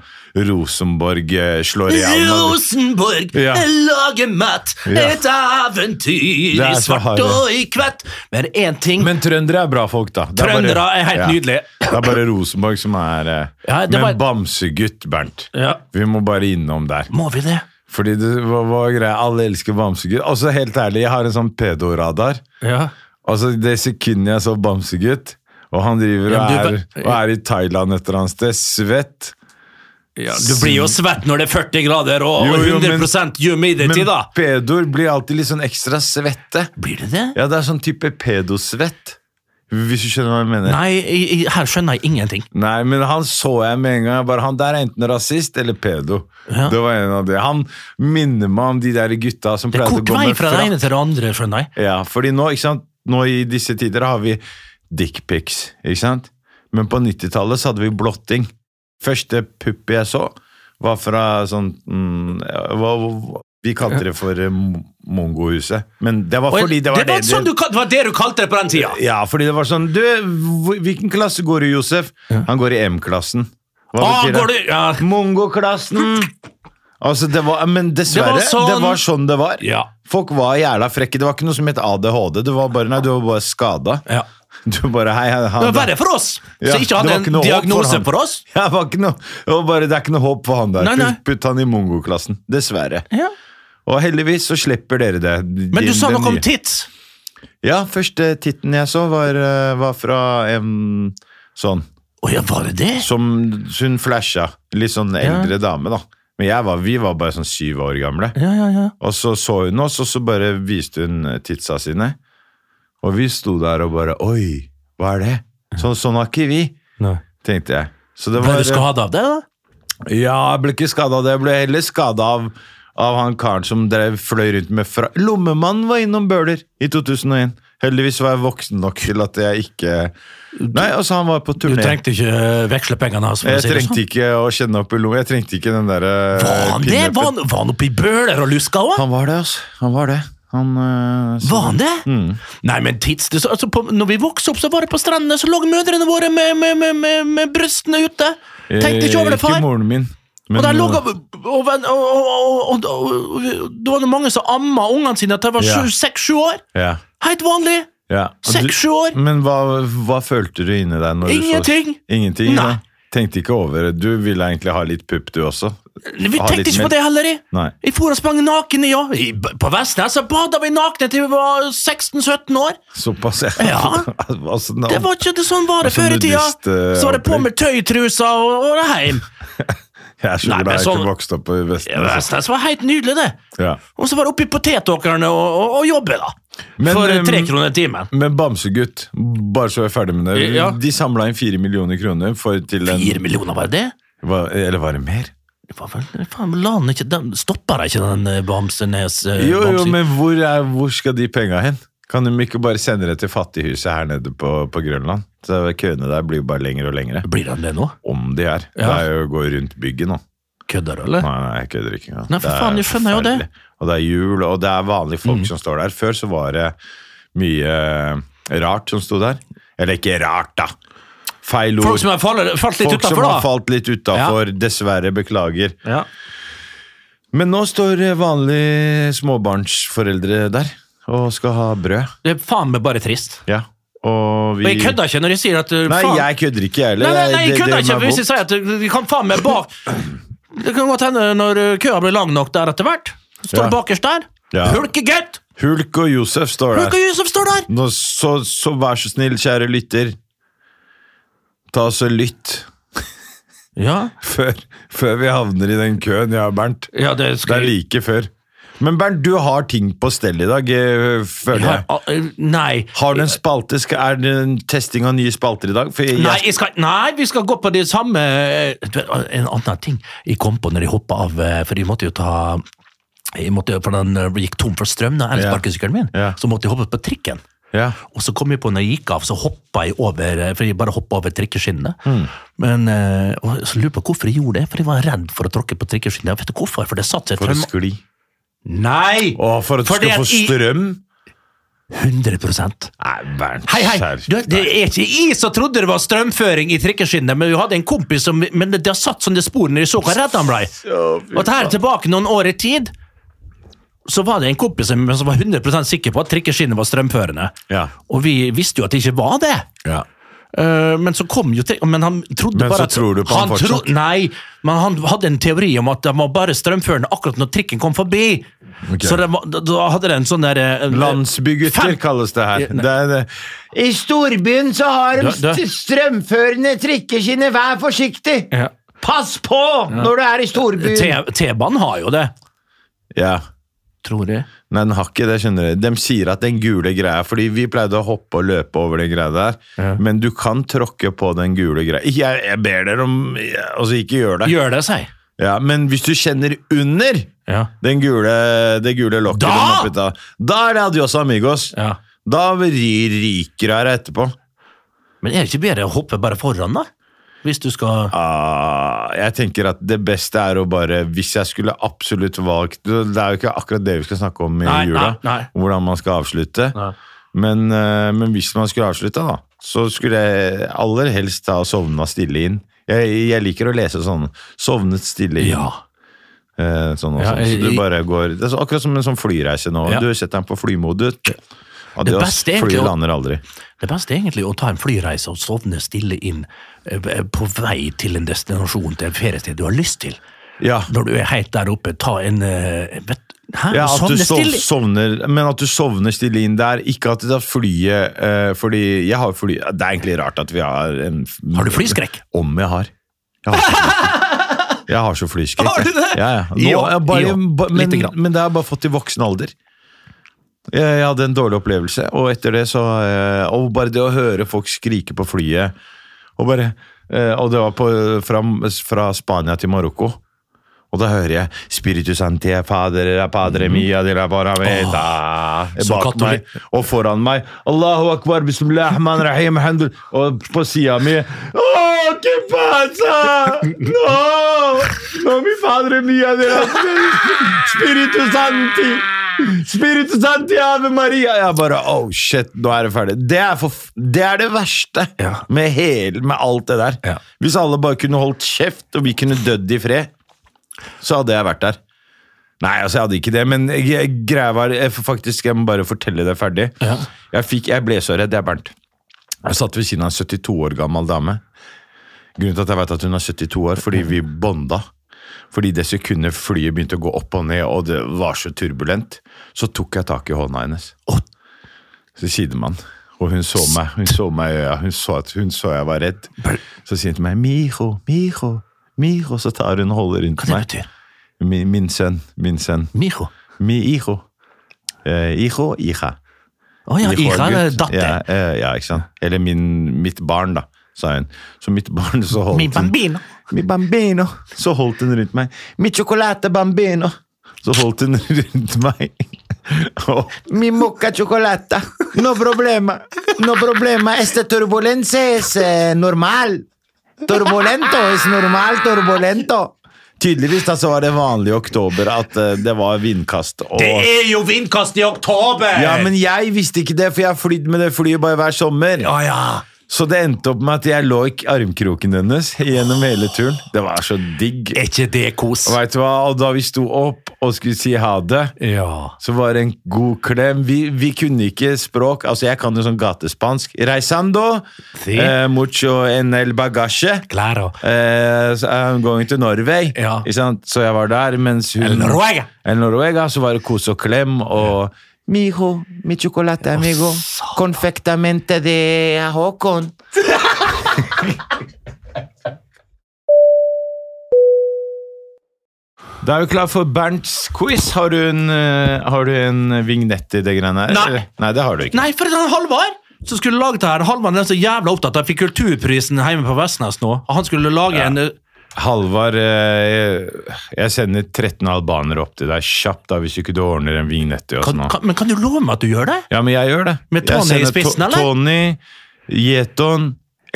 [SPEAKER 1] Rosenborg eh, slå Real Madrid.
[SPEAKER 2] Rosenborg
[SPEAKER 1] Ja.
[SPEAKER 2] lager mat,
[SPEAKER 1] Ja.
[SPEAKER 2] et eventyr
[SPEAKER 1] Det er
[SPEAKER 2] i
[SPEAKER 1] så
[SPEAKER 2] svart
[SPEAKER 1] harde.
[SPEAKER 2] og i kvett. Men én ting
[SPEAKER 1] Men trøndere er bra folk, da. Det bare-
[SPEAKER 2] Trøndere er helt
[SPEAKER 1] ja.
[SPEAKER 2] nydelige.
[SPEAKER 1] Det er bare Rosenborg som er eh,
[SPEAKER 2] Ja, det
[SPEAKER 1] Men
[SPEAKER 2] var-
[SPEAKER 1] Bamsegutt, Bernt.
[SPEAKER 2] Ja.
[SPEAKER 1] Vi må bare innom der.
[SPEAKER 2] Må vi det?
[SPEAKER 1] Fordi det var, var greia, alle elsker Bamsegutt. Altså, helt ærlig, jeg har en sånn pedoradar.
[SPEAKER 2] Ja.
[SPEAKER 1] Altså, det sekundet jeg så Bamsegutt, og han driver og
[SPEAKER 2] Ja, men
[SPEAKER 1] er,
[SPEAKER 2] du-
[SPEAKER 1] og er i Thailand et eller annet sted, svett
[SPEAKER 2] Du blir jo svett når det er 40 grader og
[SPEAKER 1] Jo, jo, men-
[SPEAKER 2] 100 humidity,
[SPEAKER 1] Men
[SPEAKER 2] da.
[SPEAKER 1] pedoer blir alltid litt sånn ekstra svette.
[SPEAKER 2] Blir det det?
[SPEAKER 1] Ja, det er sånn type pedosvett. Hvis du skjønner hva jeg mener.
[SPEAKER 2] Nei, i- i- her skjønner jeg ingenting.
[SPEAKER 1] Nei, men han så jeg med en gang. Jeg Bare, han der er enten rasist eller pedo.
[SPEAKER 2] Ja.
[SPEAKER 1] Det var en av de. Han minner meg om de der gutta som
[SPEAKER 2] Det er
[SPEAKER 1] pleide å
[SPEAKER 2] kort
[SPEAKER 1] gå
[SPEAKER 2] vei
[SPEAKER 1] med
[SPEAKER 2] fra det ene
[SPEAKER 1] frakk.
[SPEAKER 2] til det andre, skjønner jeg.
[SPEAKER 1] Ja, fordi nå, ikke sant? nå i disse tider har vi dickpics, ikke sant? Men på 90-tallet så hadde vi blotting. Første pupp jeg så, var fra sånn mm, hva, hva- Vi kalte det for eh, mo- mongohuset. Men det var
[SPEAKER 2] Og
[SPEAKER 1] fordi det var det, det,
[SPEAKER 2] sånn du, kal- det var det du kalte det på den tida!
[SPEAKER 1] ja, fordi det var sånn Du, hvor- hvilken klasse går du, Josef? Han går i M-klassen. Hva
[SPEAKER 2] Ah,
[SPEAKER 1] betyr det?
[SPEAKER 2] går du, ja.
[SPEAKER 1] Mongoklassen! Altså, det var, men dessverre,
[SPEAKER 2] Det var
[SPEAKER 1] det var
[SPEAKER 2] sånn-
[SPEAKER 1] sånn det var.
[SPEAKER 2] Ja.
[SPEAKER 1] Folk var jævla frekke. Det var ikke noe som het ADHD. Det var bare, nei, du var bare skada.
[SPEAKER 2] Ja.
[SPEAKER 1] Du bare, hei, hei,
[SPEAKER 2] Det
[SPEAKER 1] han,
[SPEAKER 2] var verre for oss,
[SPEAKER 1] Ja,
[SPEAKER 2] som ikke
[SPEAKER 1] det
[SPEAKER 2] hadde
[SPEAKER 1] var ikke
[SPEAKER 2] en
[SPEAKER 1] noe håp for
[SPEAKER 2] diagnose
[SPEAKER 1] han.
[SPEAKER 2] for oss.
[SPEAKER 1] Ja, det var ikke noe, det, var bare, det er ikke noe håp for han der.
[SPEAKER 2] Nei, nei.
[SPEAKER 1] Putt, putt han i mongoklassen. Dessverre.
[SPEAKER 2] Ja.
[SPEAKER 1] Og heldigvis så slipper dere det.
[SPEAKER 2] Men du
[SPEAKER 1] Den-
[SPEAKER 2] sa
[SPEAKER 1] den
[SPEAKER 2] noe om
[SPEAKER 1] nye-
[SPEAKER 2] tits.
[SPEAKER 1] Ja, første titten jeg så, var, eh, var fra en sånn
[SPEAKER 2] Å ja, var det det?
[SPEAKER 1] som så hun flasha. Litt sånn eldre dame, da. Men jeg var, vi var bare sånn syv år gamle.
[SPEAKER 2] Ja, ja, ja.
[SPEAKER 1] Og så så hun oss, og så bare viste hun eh, titsa sine. Og vi sto der og bare Oi, hva er det? Så, sånn har ikke vi,
[SPEAKER 2] Nei.
[SPEAKER 1] tenkte jeg. Så det
[SPEAKER 2] Ble
[SPEAKER 1] var,
[SPEAKER 2] du skada av det, da?
[SPEAKER 1] Ja, jeg ble ikke skada av det. Jeg ble heller skada av, av han karen som drev, fløy rundt med fra... Lommemannen var innom Bøhler i 2001. Heldigvis var jeg voksen nok til at jeg ikke Nei, altså, han var på
[SPEAKER 2] Du
[SPEAKER 1] turné.
[SPEAKER 2] trengte ikke eh, veksle pengene hans? for å
[SPEAKER 1] Jeg
[SPEAKER 2] si det
[SPEAKER 1] trengte
[SPEAKER 2] sånn.
[SPEAKER 1] ikke å kjenne opp i lomma. Jeg trengte ikke den derre
[SPEAKER 2] Var han det? Var han, var han oppi bøler og luska òg?
[SPEAKER 1] Han var det, altså. Han var det. Han øh, så-
[SPEAKER 2] Var han det? Nei, men tids, det, altså, på, når vi vokste opp, så var det på strendene, så lå mødrene våre med, med, med, med, med brystene ute. Tenkte ikke over det,
[SPEAKER 1] Eh, Ikke
[SPEAKER 2] far.
[SPEAKER 1] moren min. men- eh,
[SPEAKER 2] Og der lå og, og, og, og, og, og Det var det mange som amma ungene sine til de
[SPEAKER 1] Ja.
[SPEAKER 2] var seks-sju år.
[SPEAKER 1] Ja.
[SPEAKER 2] Helt vanlig.
[SPEAKER 1] ja. Og du- Mm,
[SPEAKER 2] Seks-sju år.
[SPEAKER 1] Men hva, hva følte du inni deg? Når
[SPEAKER 2] Ingenting.
[SPEAKER 1] Du så? Ingenting?
[SPEAKER 2] Nei.
[SPEAKER 1] Nei. Tenkte ikke over det. Du ville egentlig ha litt pupp, du også.
[SPEAKER 2] Vi
[SPEAKER 1] Ha litt
[SPEAKER 2] tenkte ikke
[SPEAKER 1] mer-
[SPEAKER 2] på det heller, jeg.
[SPEAKER 1] Nei.
[SPEAKER 2] Jeg for og sprang naken, ja. I, på Vestnes så bada vi nakne til vi var 16-17 år.
[SPEAKER 1] Såpass, ja.
[SPEAKER 2] Ja.
[SPEAKER 1] altså, nå-
[SPEAKER 2] Det var ikke det sånn var det
[SPEAKER 1] Sånn
[SPEAKER 2] før i tida.
[SPEAKER 1] nudist, eh,
[SPEAKER 2] Så var det på
[SPEAKER 1] opplegg.
[SPEAKER 2] med tøytrusa og, og det heim.
[SPEAKER 1] Jeg er så
[SPEAKER 2] Nei,
[SPEAKER 1] glad
[SPEAKER 2] men
[SPEAKER 1] jeg
[SPEAKER 2] sånn-
[SPEAKER 1] ikke vokste opp i
[SPEAKER 2] Ja,
[SPEAKER 1] Vestnes. altså.
[SPEAKER 2] Vestnes var helt nydelig, det.
[SPEAKER 1] Ja.
[SPEAKER 2] Og så var det oppi potetåkrene og, og, og jobbe, da.
[SPEAKER 1] Men,
[SPEAKER 2] for eh,
[SPEAKER 1] ehm,
[SPEAKER 2] tre kroner timen.
[SPEAKER 1] Men Bamsegutt, bare så jeg er ferdig med det.
[SPEAKER 2] Ja.
[SPEAKER 1] De samla inn fire millioner kroner for til en
[SPEAKER 2] Fire millioner, var det det?
[SPEAKER 1] Hva- Eller var det mer?
[SPEAKER 2] Det var vel, faen, la han ikke, den, stopper ikke den eh, Bamsenes eh,
[SPEAKER 1] Jo, jo,
[SPEAKER 2] Bamse-
[SPEAKER 1] men hvor, er, hvor skal de penga hen? Kan de ikke bare sende det til fattighuset her nede på, på Grønland? Så Køene der blir jo bare lengre og lengre.
[SPEAKER 2] Blir han det nå?
[SPEAKER 1] Om de er. Det
[SPEAKER 2] Ja.
[SPEAKER 1] er jo å gå rundt bygget nå.
[SPEAKER 2] Kødder du, eller?
[SPEAKER 1] Nei, nei, jeg kødder ikke engang.
[SPEAKER 2] Nei, for
[SPEAKER 1] Det er
[SPEAKER 2] faen, jeg skjønner jo det. Mm.
[SPEAKER 1] forferdelig. Og det er jul, og det er vanlige folk som står der. Før så var det mye eh, rart som sto der. Eller ikke rart, da. Feil ord.
[SPEAKER 2] Folk som har falt, falt litt
[SPEAKER 1] Folk som
[SPEAKER 2] utafor,
[SPEAKER 1] har
[SPEAKER 2] da.
[SPEAKER 1] falt litt utafor. Dessverre, beklager.
[SPEAKER 2] Ja.
[SPEAKER 1] Men nå står eh, vanlige småbarnsforeldre der og skal ha brød.
[SPEAKER 2] Det er faen meg bare trist.
[SPEAKER 1] Ja. Og
[SPEAKER 2] Og
[SPEAKER 1] vi
[SPEAKER 2] jeg kødder ikke når jeg sier at uh,
[SPEAKER 1] Nei,
[SPEAKER 2] faen,
[SPEAKER 1] jeg kødder ikke, jeg
[SPEAKER 2] Nei,
[SPEAKER 1] heller.
[SPEAKER 2] nei, nei,
[SPEAKER 1] Det-
[SPEAKER 2] jeg
[SPEAKER 1] det
[SPEAKER 2] kødder
[SPEAKER 1] gjør
[SPEAKER 2] ikke
[SPEAKER 1] meg
[SPEAKER 2] hvis
[SPEAKER 1] vondt.
[SPEAKER 2] jeg sier at du du kan faen meg bak Det kan godt hende når uh, køa blir lang nok der etter hvert. Står
[SPEAKER 1] Ja.
[SPEAKER 2] du bakerst der?
[SPEAKER 1] Ja.
[SPEAKER 2] Hulkegutt!
[SPEAKER 1] Hulk og Josef står der.
[SPEAKER 2] Hulk og Yusuf står der!
[SPEAKER 1] Nå, så, så vær så snill, kjære lytter. Ta oss og lytt
[SPEAKER 2] Ja,
[SPEAKER 1] før, før vi havner i den køen, ja, Bernt.
[SPEAKER 2] ja det
[SPEAKER 1] Det
[SPEAKER 2] skal
[SPEAKER 1] er
[SPEAKER 2] jeg
[SPEAKER 1] like før. Men Bernt, du har ting på stell i dag, eh, føler
[SPEAKER 2] Ja,
[SPEAKER 1] jeg.
[SPEAKER 2] ah, eh, Nei.
[SPEAKER 1] Har du en spalte? Skal, er det en testing av nye spalter i dag? For jeg,
[SPEAKER 2] Nei, jeg skal, nei, vi skal gå på det samme eh, du vet, En annen ting jeg kom på når jeg hoppa av, eh, for jeg måtte jo ta jeg måtte, jo- for Den eh, gikk tom for strøm, da, elsparkesykkelen min,
[SPEAKER 1] Ja.
[SPEAKER 2] så måtte jeg hoppe på trikken.
[SPEAKER 1] Ja.
[SPEAKER 2] Og så kom jeg på når jeg gikk av, så hoppa jeg over eh, For jeg bare hoppa over trikkeskinnene.
[SPEAKER 1] Hmm.
[SPEAKER 2] Men, eh, og så lurer jeg på hvorfor jeg gjorde det, for jeg var redd for å tråkke på trikkeskinnet. Vet du hvorfor? For det satt seg
[SPEAKER 1] For å
[SPEAKER 2] trauma...
[SPEAKER 1] skli.
[SPEAKER 2] Nei!
[SPEAKER 1] Å, for at du
[SPEAKER 2] Fordi
[SPEAKER 1] skal
[SPEAKER 2] at
[SPEAKER 1] få
[SPEAKER 2] i-
[SPEAKER 1] strøm?
[SPEAKER 2] 100
[SPEAKER 1] Nei, Bernt.
[SPEAKER 2] Hei, hei!
[SPEAKER 1] kjære-
[SPEAKER 2] Du, det er ikke jeg som trodde det var strømføring i trikkeskinnet, men vi hadde en kompis som Men det, det har satt sånne spor når jeg så hvor redd han blei.
[SPEAKER 1] Å, fy
[SPEAKER 2] Og at her
[SPEAKER 1] faen.
[SPEAKER 2] tilbake noen år i tid, så var det en kompis som som var 100 sikker på at trikkeskinnet var strømførende.
[SPEAKER 1] Ja.
[SPEAKER 2] Og vi visste jo at det ikke var det.
[SPEAKER 1] Ja.
[SPEAKER 2] Eh, men så kom jo til, men han trodde
[SPEAKER 1] Men
[SPEAKER 2] bare
[SPEAKER 1] så
[SPEAKER 2] at
[SPEAKER 1] tror du på han
[SPEAKER 2] tro-
[SPEAKER 1] fortsatt?
[SPEAKER 2] Nei, men han hadde en teori om at han var bare strømførende akkurat når trikken kom forbi. Så det var, da- da hadde det en sånn der eh,
[SPEAKER 1] Landsbygutter
[SPEAKER 2] Fem-
[SPEAKER 1] kalles det her. Det er eh, det. I storbyen så har
[SPEAKER 2] de Da- da- st-
[SPEAKER 1] strømførende trikkeskinner. Vær forsiktig!
[SPEAKER 2] Ja.
[SPEAKER 1] Pass på når du er i storbyen!
[SPEAKER 2] T- T-banen har jo det,
[SPEAKER 1] Ja.
[SPEAKER 2] tror jeg.
[SPEAKER 1] Nei, den har ikke det, skjønner du. De sier at den gule greia Fordi vi pleide å hoppe og løpe over den greia der, men du kan tråkke på den gule greia. Ikke- Jeg, jeg ber dere om Altså, ikke gjør det.
[SPEAKER 2] Gjør det seg.
[SPEAKER 1] Ja, men hvis du kjenner under
[SPEAKER 2] Ja.
[SPEAKER 1] den gule, det gule lokket
[SPEAKER 2] Da!
[SPEAKER 1] den oppet av, da er det adios amigos.
[SPEAKER 2] Ja.
[SPEAKER 1] Da ri- ryker det her etterpå.
[SPEAKER 2] Men er det ikke bedre å hoppe bare foran, da? Hvis du skal
[SPEAKER 1] Ah, jeg tenker at det beste er å bare Hvis jeg skulle absolutt valgt Det er jo ikke akkurat det vi skal snakke om i
[SPEAKER 2] Nei,
[SPEAKER 1] jula.
[SPEAKER 2] nei, nei.
[SPEAKER 1] Hvordan man skal avslutte.
[SPEAKER 2] Nei.
[SPEAKER 1] Men, eh, men hvis man skulle avslutte, da, så skulle jeg aller helst da sovna stille inn. Jeg, jeg liker å lese sånn 'sovnet stille inn'.
[SPEAKER 2] Ja.
[SPEAKER 1] Eh, sånn og
[SPEAKER 2] Ja,
[SPEAKER 1] sånn. Så
[SPEAKER 2] jeg-
[SPEAKER 1] du bare går Det er så- akkurat som en sånn flyreise nå.
[SPEAKER 2] Ja.
[SPEAKER 1] Du setter deg på flymodus. Adios,
[SPEAKER 2] beste er egentlig
[SPEAKER 1] flyet
[SPEAKER 2] å-
[SPEAKER 1] lander aldri.
[SPEAKER 2] Det beste er egentlig å ta en flyreise og sovne stille inn eh, på vei til en destinasjon, til et feriested du har lyst til.
[SPEAKER 1] Ja.
[SPEAKER 2] Når du er helt der oppe, ta en eh, vet, Hæ?
[SPEAKER 1] Ja, at
[SPEAKER 2] sovne
[SPEAKER 1] du sov,
[SPEAKER 2] stille?
[SPEAKER 1] sovner, men at du sovner stille inn der, ikke at det er flyet eh, Fordi jeg har fly Det er egentlig rart at vi har en
[SPEAKER 2] Har du flyskrekk?
[SPEAKER 1] Om jeg har. Jeg har, flyskrekk. jeg har så flyskrekk.
[SPEAKER 2] Har du det?
[SPEAKER 1] Ja, ja. Nå,
[SPEAKER 2] Jo,
[SPEAKER 1] jeg bare,
[SPEAKER 2] jo.
[SPEAKER 1] ba- men,
[SPEAKER 2] Lite grann.
[SPEAKER 1] men det har jeg bare fått i voksen alder. Jeg, jeg hadde en dårlig opplevelse, og etter det så eh, Og bare det å høre folk skrike på flyet Og bare eh, Og det var på, fra, fra Spania til Marokko. Og da hører jeg 'Spiritus ante padre padre mia de la parameta'
[SPEAKER 2] som
[SPEAKER 1] bak meg
[SPEAKER 2] katolikk.
[SPEAKER 1] og foran meg 'Allahu akbar, bismillah, man rahim, handel' Og på sida mi 'Å, que pasa? No! No, mi padre mia de la Spiritus anti Spiritus anti ave Maria' Jeg bare 'Oh shit, nå er det ferdig'. Det er, for, det, er det verste
[SPEAKER 2] Ja.
[SPEAKER 1] med, hele, med alt det der.
[SPEAKER 2] Ja.
[SPEAKER 1] Hvis alle bare kunne holdt kjeft, og vi kunne dødd i fred så hadde jeg vært der. Nei, altså jeg hadde ikke det, men jeg- greia var jeg, får faktisk, jeg må bare fortelle det ferdig.
[SPEAKER 2] Ja.
[SPEAKER 1] Jeg, fikk, jeg ble så redd, jeg, Bernt. Jeg satt ved siden av en 72 år gammel dame. Grunnen til at jeg vet at hun er 72 år, fordi vi bonda. Fordi det sekundet flyet begynte å gå opp og ned, og det var så turbulent, så tok jeg tak i hånda hennes.
[SPEAKER 2] Å.
[SPEAKER 1] Så sidemann. Og hun så meg, hun så meg i øya, hun så at hun så jeg var redd. Så sier hun til meg 'Miro, Miro, Miro', så tar hun og holder rundt
[SPEAKER 2] Hva det
[SPEAKER 1] meg.
[SPEAKER 2] betyr?
[SPEAKER 1] Min, min sønn, min sønn.
[SPEAKER 2] Miho.
[SPEAKER 1] Mi Iro. Eh, Iro, Ira.
[SPEAKER 2] Å ja,
[SPEAKER 1] Vi får
[SPEAKER 2] Ira
[SPEAKER 1] en
[SPEAKER 2] er
[SPEAKER 1] gutt.
[SPEAKER 2] datter.
[SPEAKER 1] Ja, eh, ja, ikke sant. Eller min, mitt barn, da, sa hun. Så mitt barn så holdt
[SPEAKER 2] Min
[SPEAKER 1] hun-
[SPEAKER 2] bambino.
[SPEAKER 1] Mi bambino. Så holdt hun rundt meg. Mi chocolate bambino. Så holdt hun rundt meg. Og Mi mocca chocolata. No problema. No problema. Este turbulense es eh, normal. Turbulento es normal turbulento. Tydeligvis da så var det vanlig i oktober at eh, det var vindkast. Og
[SPEAKER 2] er jo vindkast i oktober!
[SPEAKER 1] ja, men jeg visste ikke det, for jeg har flydd med det flyet bare hver sommer.
[SPEAKER 2] Å ja.
[SPEAKER 1] Så det endte opp med at jeg lå i armkroken hennes gjennom hele turen. Det var så digg.
[SPEAKER 2] Er ikke det kos?
[SPEAKER 1] Og vet du hva? Og da vi sto opp og skulle si ha det,
[SPEAKER 2] Ja.
[SPEAKER 1] så var det en god klem. Vi, vi kunne ikke språk. Altså, jeg kan jo sånn gatespansk. Reisando
[SPEAKER 2] Si.
[SPEAKER 1] eh, mucho en el bagasje.
[SPEAKER 2] Claro.
[SPEAKER 1] Eh, så I'm going to Norway.
[SPEAKER 2] Ja.
[SPEAKER 1] Ikke sant? Så jeg var der, mens hun
[SPEAKER 2] El Noruega.
[SPEAKER 1] El Noruega, så var det kos og klem og Mijo, mi chocolate amigo, confectamente de Håkon. Da er vi klar for Bernts quiz. Har du en, eh, har du en vignett i det greiene her?
[SPEAKER 2] Nei.
[SPEAKER 1] eller? Nei, det har du ikke.
[SPEAKER 2] Nei, for den Halvard som skulle lage det her, Halvard er så jævla opptatt. Han fikk Kulturprisen hjemme på Vestnes nå. og Han skulle lage en eh,
[SPEAKER 1] Halvard, eh, jeg sender 13 albanere opp til deg kjapt da, hvis ikke du ordner en vignett til oss
[SPEAKER 2] kan,
[SPEAKER 1] nå.
[SPEAKER 2] kan, Men kan du love meg at du gjør det?
[SPEAKER 1] Ja, men jeg gjør det.
[SPEAKER 2] Med
[SPEAKER 1] Jeg
[SPEAKER 2] Tony i
[SPEAKER 1] sender
[SPEAKER 2] spissen,
[SPEAKER 1] To-
[SPEAKER 2] eller?
[SPEAKER 1] Tony, Yeton,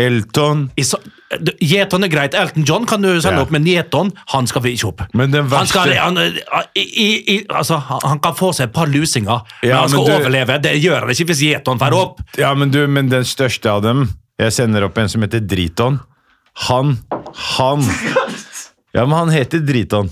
[SPEAKER 1] Elton.
[SPEAKER 2] I så- du, Gjeton er greit. Elton John kan du sende
[SPEAKER 1] Ja.
[SPEAKER 2] opp, men Gjeton han skal vi ikke opp.
[SPEAKER 1] Men den
[SPEAKER 2] han, skal,
[SPEAKER 1] verste-
[SPEAKER 2] han, eh, i, i, i- altså, han han kan få seg et par lusinger, men
[SPEAKER 1] Ja,
[SPEAKER 2] han skal
[SPEAKER 1] men du-
[SPEAKER 2] overleve. Det gjør han ikke hvis Gjeton drar opp.
[SPEAKER 1] Ja, men du, men den største av dem Jeg sender opp en som heter Driton. Han. Han. Ja, men han heter Driton.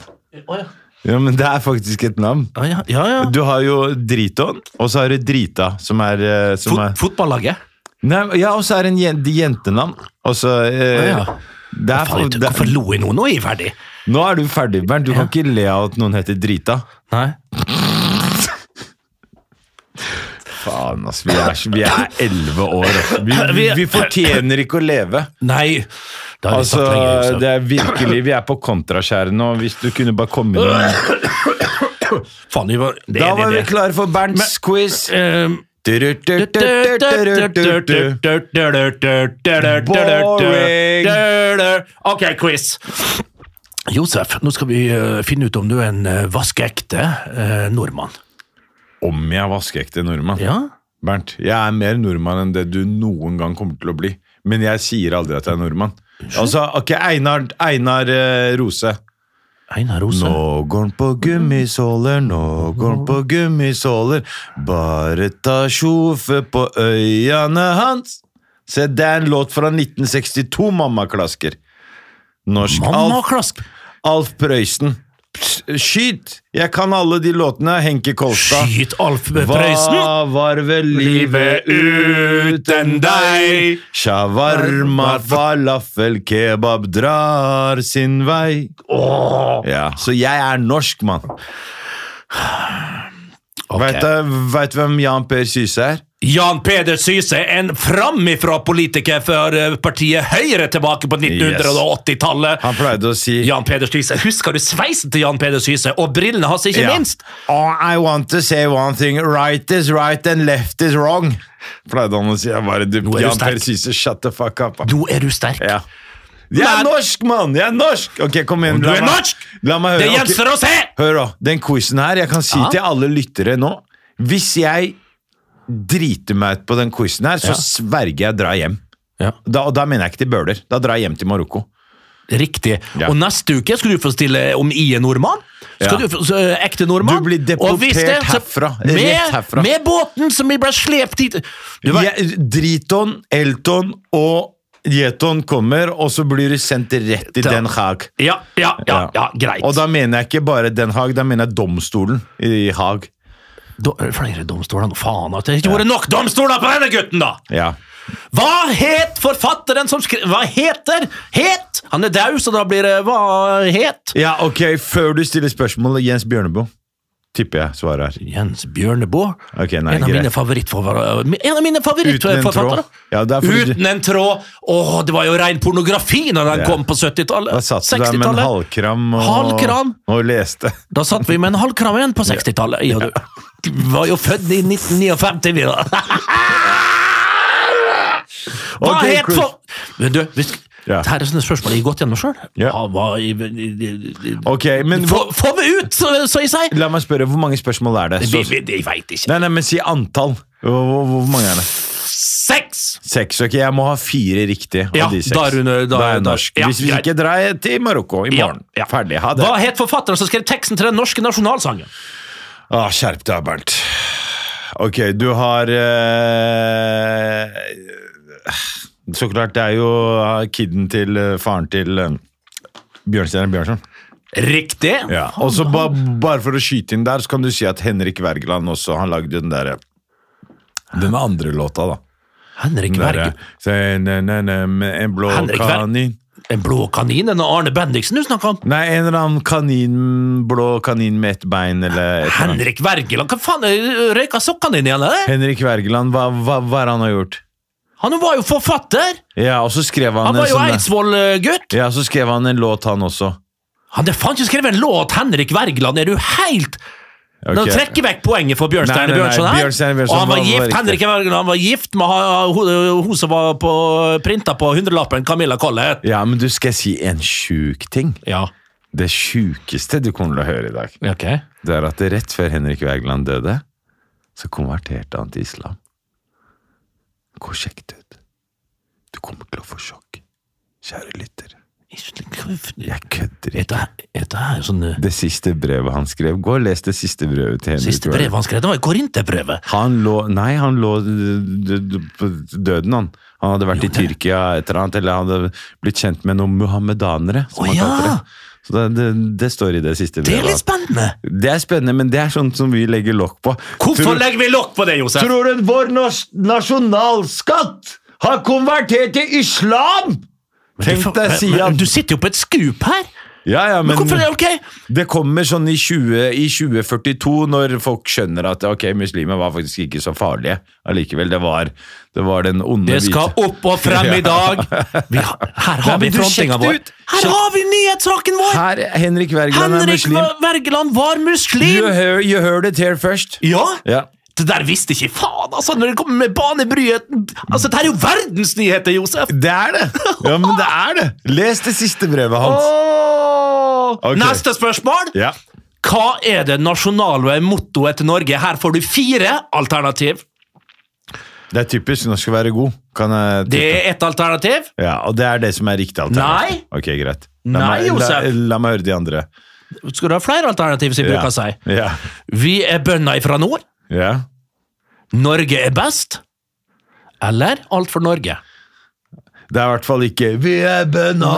[SPEAKER 1] Ja, men det er faktisk et navn.
[SPEAKER 2] Ja, ja, ja, ja.
[SPEAKER 1] Du har jo Driton, og så har du Drita, som er, eh, som er
[SPEAKER 2] Fot, fotballaget.
[SPEAKER 1] Nei, Ja, og så er det en jen- jentenavn. Og så eh,
[SPEAKER 2] Å, ja.
[SPEAKER 1] det er,
[SPEAKER 2] Faen,
[SPEAKER 1] det,
[SPEAKER 2] Hvorfor lo jeg nå? Nå er jeg ferdig.
[SPEAKER 1] Nå er du ferdig, Bernt. Du kan ikke le av at noen heter Drita.
[SPEAKER 2] Nei.
[SPEAKER 1] Faen, ass. Vi er, vi er 11 år. ass. Vi, vi, vi fortjener ikke å leve.
[SPEAKER 2] Nei. Det har jeg
[SPEAKER 1] Altså,
[SPEAKER 2] sagt lenge. Josef.
[SPEAKER 1] det er virkelig, Vi er på kontraskjæret nå. Hvis du kunne bare komme inn
[SPEAKER 2] Faen, vi var, det,
[SPEAKER 1] Da
[SPEAKER 2] det,
[SPEAKER 1] var vi
[SPEAKER 2] det.
[SPEAKER 1] klare for Bernts quiz.
[SPEAKER 2] Ehm,
[SPEAKER 1] Du-du-du-du-du-du-du.
[SPEAKER 2] Boring! Ok, quiz. Josef, nå skal vi eh, finne ut om du er en eh, vaskeekte eh, nordmann.
[SPEAKER 1] Om jeg er vaskeekte nordmann.
[SPEAKER 2] Ja?
[SPEAKER 1] Bernt, jeg er mer nordmann enn det du noen gang kommer til å bli. Men jeg sier aldri at jeg er nordmann. Altså, ok, Einar, Einar eh, Rose.
[SPEAKER 2] Einar Rose.
[SPEAKER 1] Nå går han på gummisåler, nå går han på gummisåler. Bare ta sjofe på øyene hans. Se, det er en låt fra 1962, Mamma Klasker. Norsk
[SPEAKER 2] Mamma
[SPEAKER 1] Alf,
[SPEAKER 2] klask!
[SPEAKER 1] Alf Prøysen. Pst, Skyt! Jeg kan alle de låtene. Henke Kolstad.
[SPEAKER 2] Skyt Alf Prøysen!
[SPEAKER 1] Hva var vel livet uten deg? Shawarma, falafel, kebab drar sin vei. Ja, så jeg er norsk, mann.
[SPEAKER 2] Ok.
[SPEAKER 1] Vet du vet du hvem Jan Per Syse er?
[SPEAKER 2] Jan Peder Syse, en framifrå politiker for eh, partiet Høyre tilbake på 1980-tallet.
[SPEAKER 1] Han pleide å si
[SPEAKER 2] Jan Peder Syse. Husker du sveisen til Jan Peder Syse? Og brillene hans, ikke
[SPEAKER 1] Ja.
[SPEAKER 2] minst!
[SPEAKER 1] Oh, I want to say one thing. Right is right and left is wrong. Pleide han å si. Jeg bare, du,
[SPEAKER 2] Nå er du
[SPEAKER 1] Jan Per
[SPEAKER 2] sterk.
[SPEAKER 1] Syse, shut the fuck up.
[SPEAKER 2] Nå er du sterk.
[SPEAKER 1] Ja. Jeg er
[SPEAKER 2] Men-
[SPEAKER 1] norsk, mann! Jeg er norsk! Ok, kom igjen.
[SPEAKER 2] Du
[SPEAKER 1] la
[SPEAKER 2] er
[SPEAKER 1] meg-
[SPEAKER 2] norsk!
[SPEAKER 1] La meg høre.
[SPEAKER 2] Det
[SPEAKER 1] Ok.
[SPEAKER 2] gjenstår å se!
[SPEAKER 1] Hør da, den quizen her, jeg kan si
[SPEAKER 2] Ja.
[SPEAKER 1] til alle lyttere nå Hvis jeg driter meg ut på den quizen her, så
[SPEAKER 2] Ja.
[SPEAKER 1] sverger jeg å dra hjem. Da, og da mener jeg ikke til Bøler. Da drar jeg hjem til Marokko.
[SPEAKER 2] Riktig.
[SPEAKER 1] Ja.
[SPEAKER 2] Og neste uke skal du få stille om I er nordmann. Skal
[SPEAKER 1] Ja.
[SPEAKER 2] du få, så, ekte nordmann.
[SPEAKER 1] Du blir deportert
[SPEAKER 2] Og hvis det, så-
[SPEAKER 1] herfra. Rett
[SPEAKER 2] Med,
[SPEAKER 1] herfra.
[SPEAKER 2] med båten som vi ble slept hit du, vet-
[SPEAKER 1] Jeg, Driton, Elton og Jeton kommer, og så blir du sendt rett til
[SPEAKER 2] Da-
[SPEAKER 1] Den Haag.
[SPEAKER 2] ja, ja, ja, ja, greit.
[SPEAKER 1] Og da mener jeg ikke bare Den Haag, da mener jeg domstolen i Haag.
[SPEAKER 2] eh, Da er det flere domstoler nå. Faen at det ikke har vært nok domstoler på denne gutten, da!
[SPEAKER 1] Ja.
[SPEAKER 2] Hva het forfatteren som skrev Hva heter? Het! Han er daud, så da blir det Hva het?
[SPEAKER 1] Ja, ok, Før du stiller spørsmålet, Jens Bjørneboe. Tipper jeg svaret her.
[SPEAKER 2] Jens Bjørneboe.
[SPEAKER 1] Ok, nei,
[SPEAKER 2] en, av
[SPEAKER 1] greit.
[SPEAKER 2] mine favorittforfattere. en av
[SPEAKER 1] Uten
[SPEAKER 2] mine
[SPEAKER 1] en tråd.
[SPEAKER 2] favorittforfattere!
[SPEAKER 1] Ja, det er fordi-
[SPEAKER 2] Uten en tråd! Åh, det var jo ren pornografi når den
[SPEAKER 1] Ja.
[SPEAKER 2] kom på 70-tallet!
[SPEAKER 1] Da satt du der med en
[SPEAKER 2] 60-tallet.
[SPEAKER 1] halvkram og,
[SPEAKER 2] Halvkram?
[SPEAKER 1] og leste.
[SPEAKER 2] Da satt vi med en halv kram igjen på 60-tallet. Jeg og du. Vi var jo født i 1959, vi da. Hva
[SPEAKER 1] Ok,
[SPEAKER 2] het
[SPEAKER 1] cool.
[SPEAKER 2] for... Men du, hvis...
[SPEAKER 1] Ja.
[SPEAKER 2] Det her er sånne spørsmål jeg har gått gjennom sjøl.
[SPEAKER 1] Ja. Ok, men
[SPEAKER 2] Få,
[SPEAKER 1] hvor,
[SPEAKER 2] få meg ut, så, så jeg sier!
[SPEAKER 1] la meg spørre, hvor mange spørsmål er det?
[SPEAKER 2] Vi-
[SPEAKER 1] Så,
[SPEAKER 2] vi- Jeg veit ikke.
[SPEAKER 1] nei, nei, men si antall. Hvor, hvor, hvor mange er det?
[SPEAKER 2] Seks!
[SPEAKER 1] Seks. Ok, jeg må ha fire riktige av
[SPEAKER 2] Ja,
[SPEAKER 1] de seks.
[SPEAKER 2] da er hun- da-
[SPEAKER 1] Da er jeg
[SPEAKER 2] da-
[SPEAKER 1] norsk.
[SPEAKER 2] ja,
[SPEAKER 1] Hvis vi
[SPEAKER 2] greit.
[SPEAKER 1] ikke drar jeg til Marokko i morgen.
[SPEAKER 2] Ja, ja.
[SPEAKER 1] Ferdig. Ha det.
[SPEAKER 2] Hva het forfatteren som skrev teksten til den norske nasjonalsangen?
[SPEAKER 1] Ah, skjerp deg, Bernt. Ok, du har eh, Så klart, det er jo eh, kiden til eh, faren til eh, Bjørnstjerne Bjørnson.
[SPEAKER 2] Riktig!
[SPEAKER 1] Ja. Og så ba, bare for å skyte inn der, så kan du si at Henrik Wergeland også Han lagde den eh, derre Den andre låta, da.
[SPEAKER 2] Henrik
[SPEAKER 1] Den derre
[SPEAKER 2] Werge.
[SPEAKER 1] «Se, ne, ne, ne, med En blå
[SPEAKER 2] Henrik Werg-
[SPEAKER 1] kanin
[SPEAKER 2] En blå kanin? Den Arne Bendiksen du snakker om?
[SPEAKER 1] Nei, en eller annen kanin Blå kanin med ett bein, eller et eller annet.
[SPEAKER 2] Henrik Wergeland? Hva faen? er- Røyka sokkene dine igjen, eller?
[SPEAKER 1] Henrik Wergeland, hva, hva, hva er det han har gjort?
[SPEAKER 2] Han var jo forfatter!
[SPEAKER 1] Ja, og så skrev han,
[SPEAKER 2] Han
[SPEAKER 1] en
[SPEAKER 2] var jo
[SPEAKER 1] sånn-
[SPEAKER 2] Eidsvoll-gutt!
[SPEAKER 1] Ja, så skrev han en låt, han også.
[SPEAKER 2] Han hadde faen ikke skrevet en låt, Henrik Wergeland! Er du helt
[SPEAKER 1] Ok.
[SPEAKER 2] Nå trekker jeg vekk poenget for
[SPEAKER 1] Nei,
[SPEAKER 2] Bjørnstjerne
[SPEAKER 1] nei, nei,
[SPEAKER 2] Bjørnson her.
[SPEAKER 1] Bjørnstjerne Bjørnson
[SPEAKER 2] Og han var
[SPEAKER 1] var- var
[SPEAKER 2] gift,
[SPEAKER 1] riktig.
[SPEAKER 2] Henrik Wergeland var gift med ha- hun hun som var på, printa på hundrelappen, Camilla Collett.
[SPEAKER 1] Ja, men du skal jeg si en sjuk ting.
[SPEAKER 2] Ja,
[SPEAKER 1] Det sjukeste du kommer til å høre i dag,
[SPEAKER 2] ok.
[SPEAKER 1] det er at det rett før Henrik Wergeland døde, så konverterte han til islam. Gå og sjekk det ut. Du kommer til å få sjokk. Kjære lytter, jeg kødder ikke.
[SPEAKER 2] Dette her- dette her er sånn eh,
[SPEAKER 1] Det siste brevet han skrev Gå og les det siste brevet til Henrik
[SPEAKER 2] Siste brevet han skrev, det var jo Korinterbrevet.
[SPEAKER 1] Han lå Nei, han lå d- d- på døden, han. Han hadde vært i Tyrkia et eller annet, eller han hadde blitt kjent med noen muhammedanere.
[SPEAKER 2] Å,
[SPEAKER 1] han kalte
[SPEAKER 2] ja!
[SPEAKER 1] det. Så det, det, det står i det siste
[SPEAKER 2] Det er litt
[SPEAKER 1] brevet.
[SPEAKER 2] spennende!
[SPEAKER 1] Det er spennende, men det er sånt som vi legger lokk på.
[SPEAKER 2] Hvorfor
[SPEAKER 1] tror,
[SPEAKER 2] legger vi lokk på det, Josef?
[SPEAKER 1] tror du vår nos- nasjonalskatt har konvertert til islam?! Tenk deg, sier
[SPEAKER 2] Men
[SPEAKER 1] han.
[SPEAKER 2] Du sitter jo på et skup her!
[SPEAKER 1] Ja, ja,
[SPEAKER 2] Men
[SPEAKER 1] men,
[SPEAKER 2] hvorfor er det ok?
[SPEAKER 1] det kommer sånn i, 20, i 2042, når folk skjønner at ok, muslimer var faktisk ikke så farlige allikevel. Det var, det var den onde
[SPEAKER 2] Det skal
[SPEAKER 1] hvite-
[SPEAKER 2] opp og frem i dag! Vi, har- her
[SPEAKER 1] Nei,
[SPEAKER 2] har
[SPEAKER 1] men
[SPEAKER 2] vi
[SPEAKER 1] du,
[SPEAKER 2] frontinga
[SPEAKER 1] sjekk
[SPEAKER 2] vår.
[SPEAKER 1] det ut.
[SPEAKER 2] Her
[SPEAKER 1] Sjekk-
[SPEAKER 2] har vi nyhetssaken vår!
[SPEAKER 1] Her, Henrik Wergeland er
[SPEAKER 2] Henrik
[SPEAKER 1] muslim.
[SPEAKER 2] Wergeland var
[SPEAKER 1] You
[SPEAKER 2] muslim!
[SPEAKER 1] heard, you heard it here first.
[SPEAKER 2] Ja!
[SPEAKER 1] Ja.
[SPEAKER 2] Det der visste ikke faen, altså, når det kommer med banebryheten! Altså, det er jo verdensnyheter, Josef!
[SPEAKER 1] Det er det! Ja, men det er det! Les det siste brevet hans.
[SPEAKER 2] Åh!
[SPEAKER 1] Ok.
[SPEAKER 2] Neste spørsmål!
[SPEAKER 1] Ja.
[SPEAKER 2] Hva er det nasjonale mottoet til Norge? Her får du fire alternativ.
[SPEAKER 1] Det er typisk. Nå skal jeg være god. Kan jeg
[SPEAKER 2] Det er ett alternativ.
[SPEAKER 1] Ja, Og det er det som er riktig alternativ?
[SPEAKER 2] Nei.
[SPEAKER 1] Ok, greit.
[SPEAKER 2] Nei,
[SPEAKER 1] meg, la,
[SPEAKER 2] Josef.
[SPEAKER 1] la meg høre de andre.
[SPEAKER 2] Skal du ha flere alternativ, som jeg
[SPEAKER 1] Ja.
[SPEAKER 2] bruker å si?
[SPEAKER 1] Ja.
[SPEAKER 2] Vi er bønder fra nord.
[SPEAKER 1] ja.
[SPEAKER 2] Norge er best. Eller alt for Norge.
[SPEAKER 1] Det er i hvert fall ikke 'Vi er bønna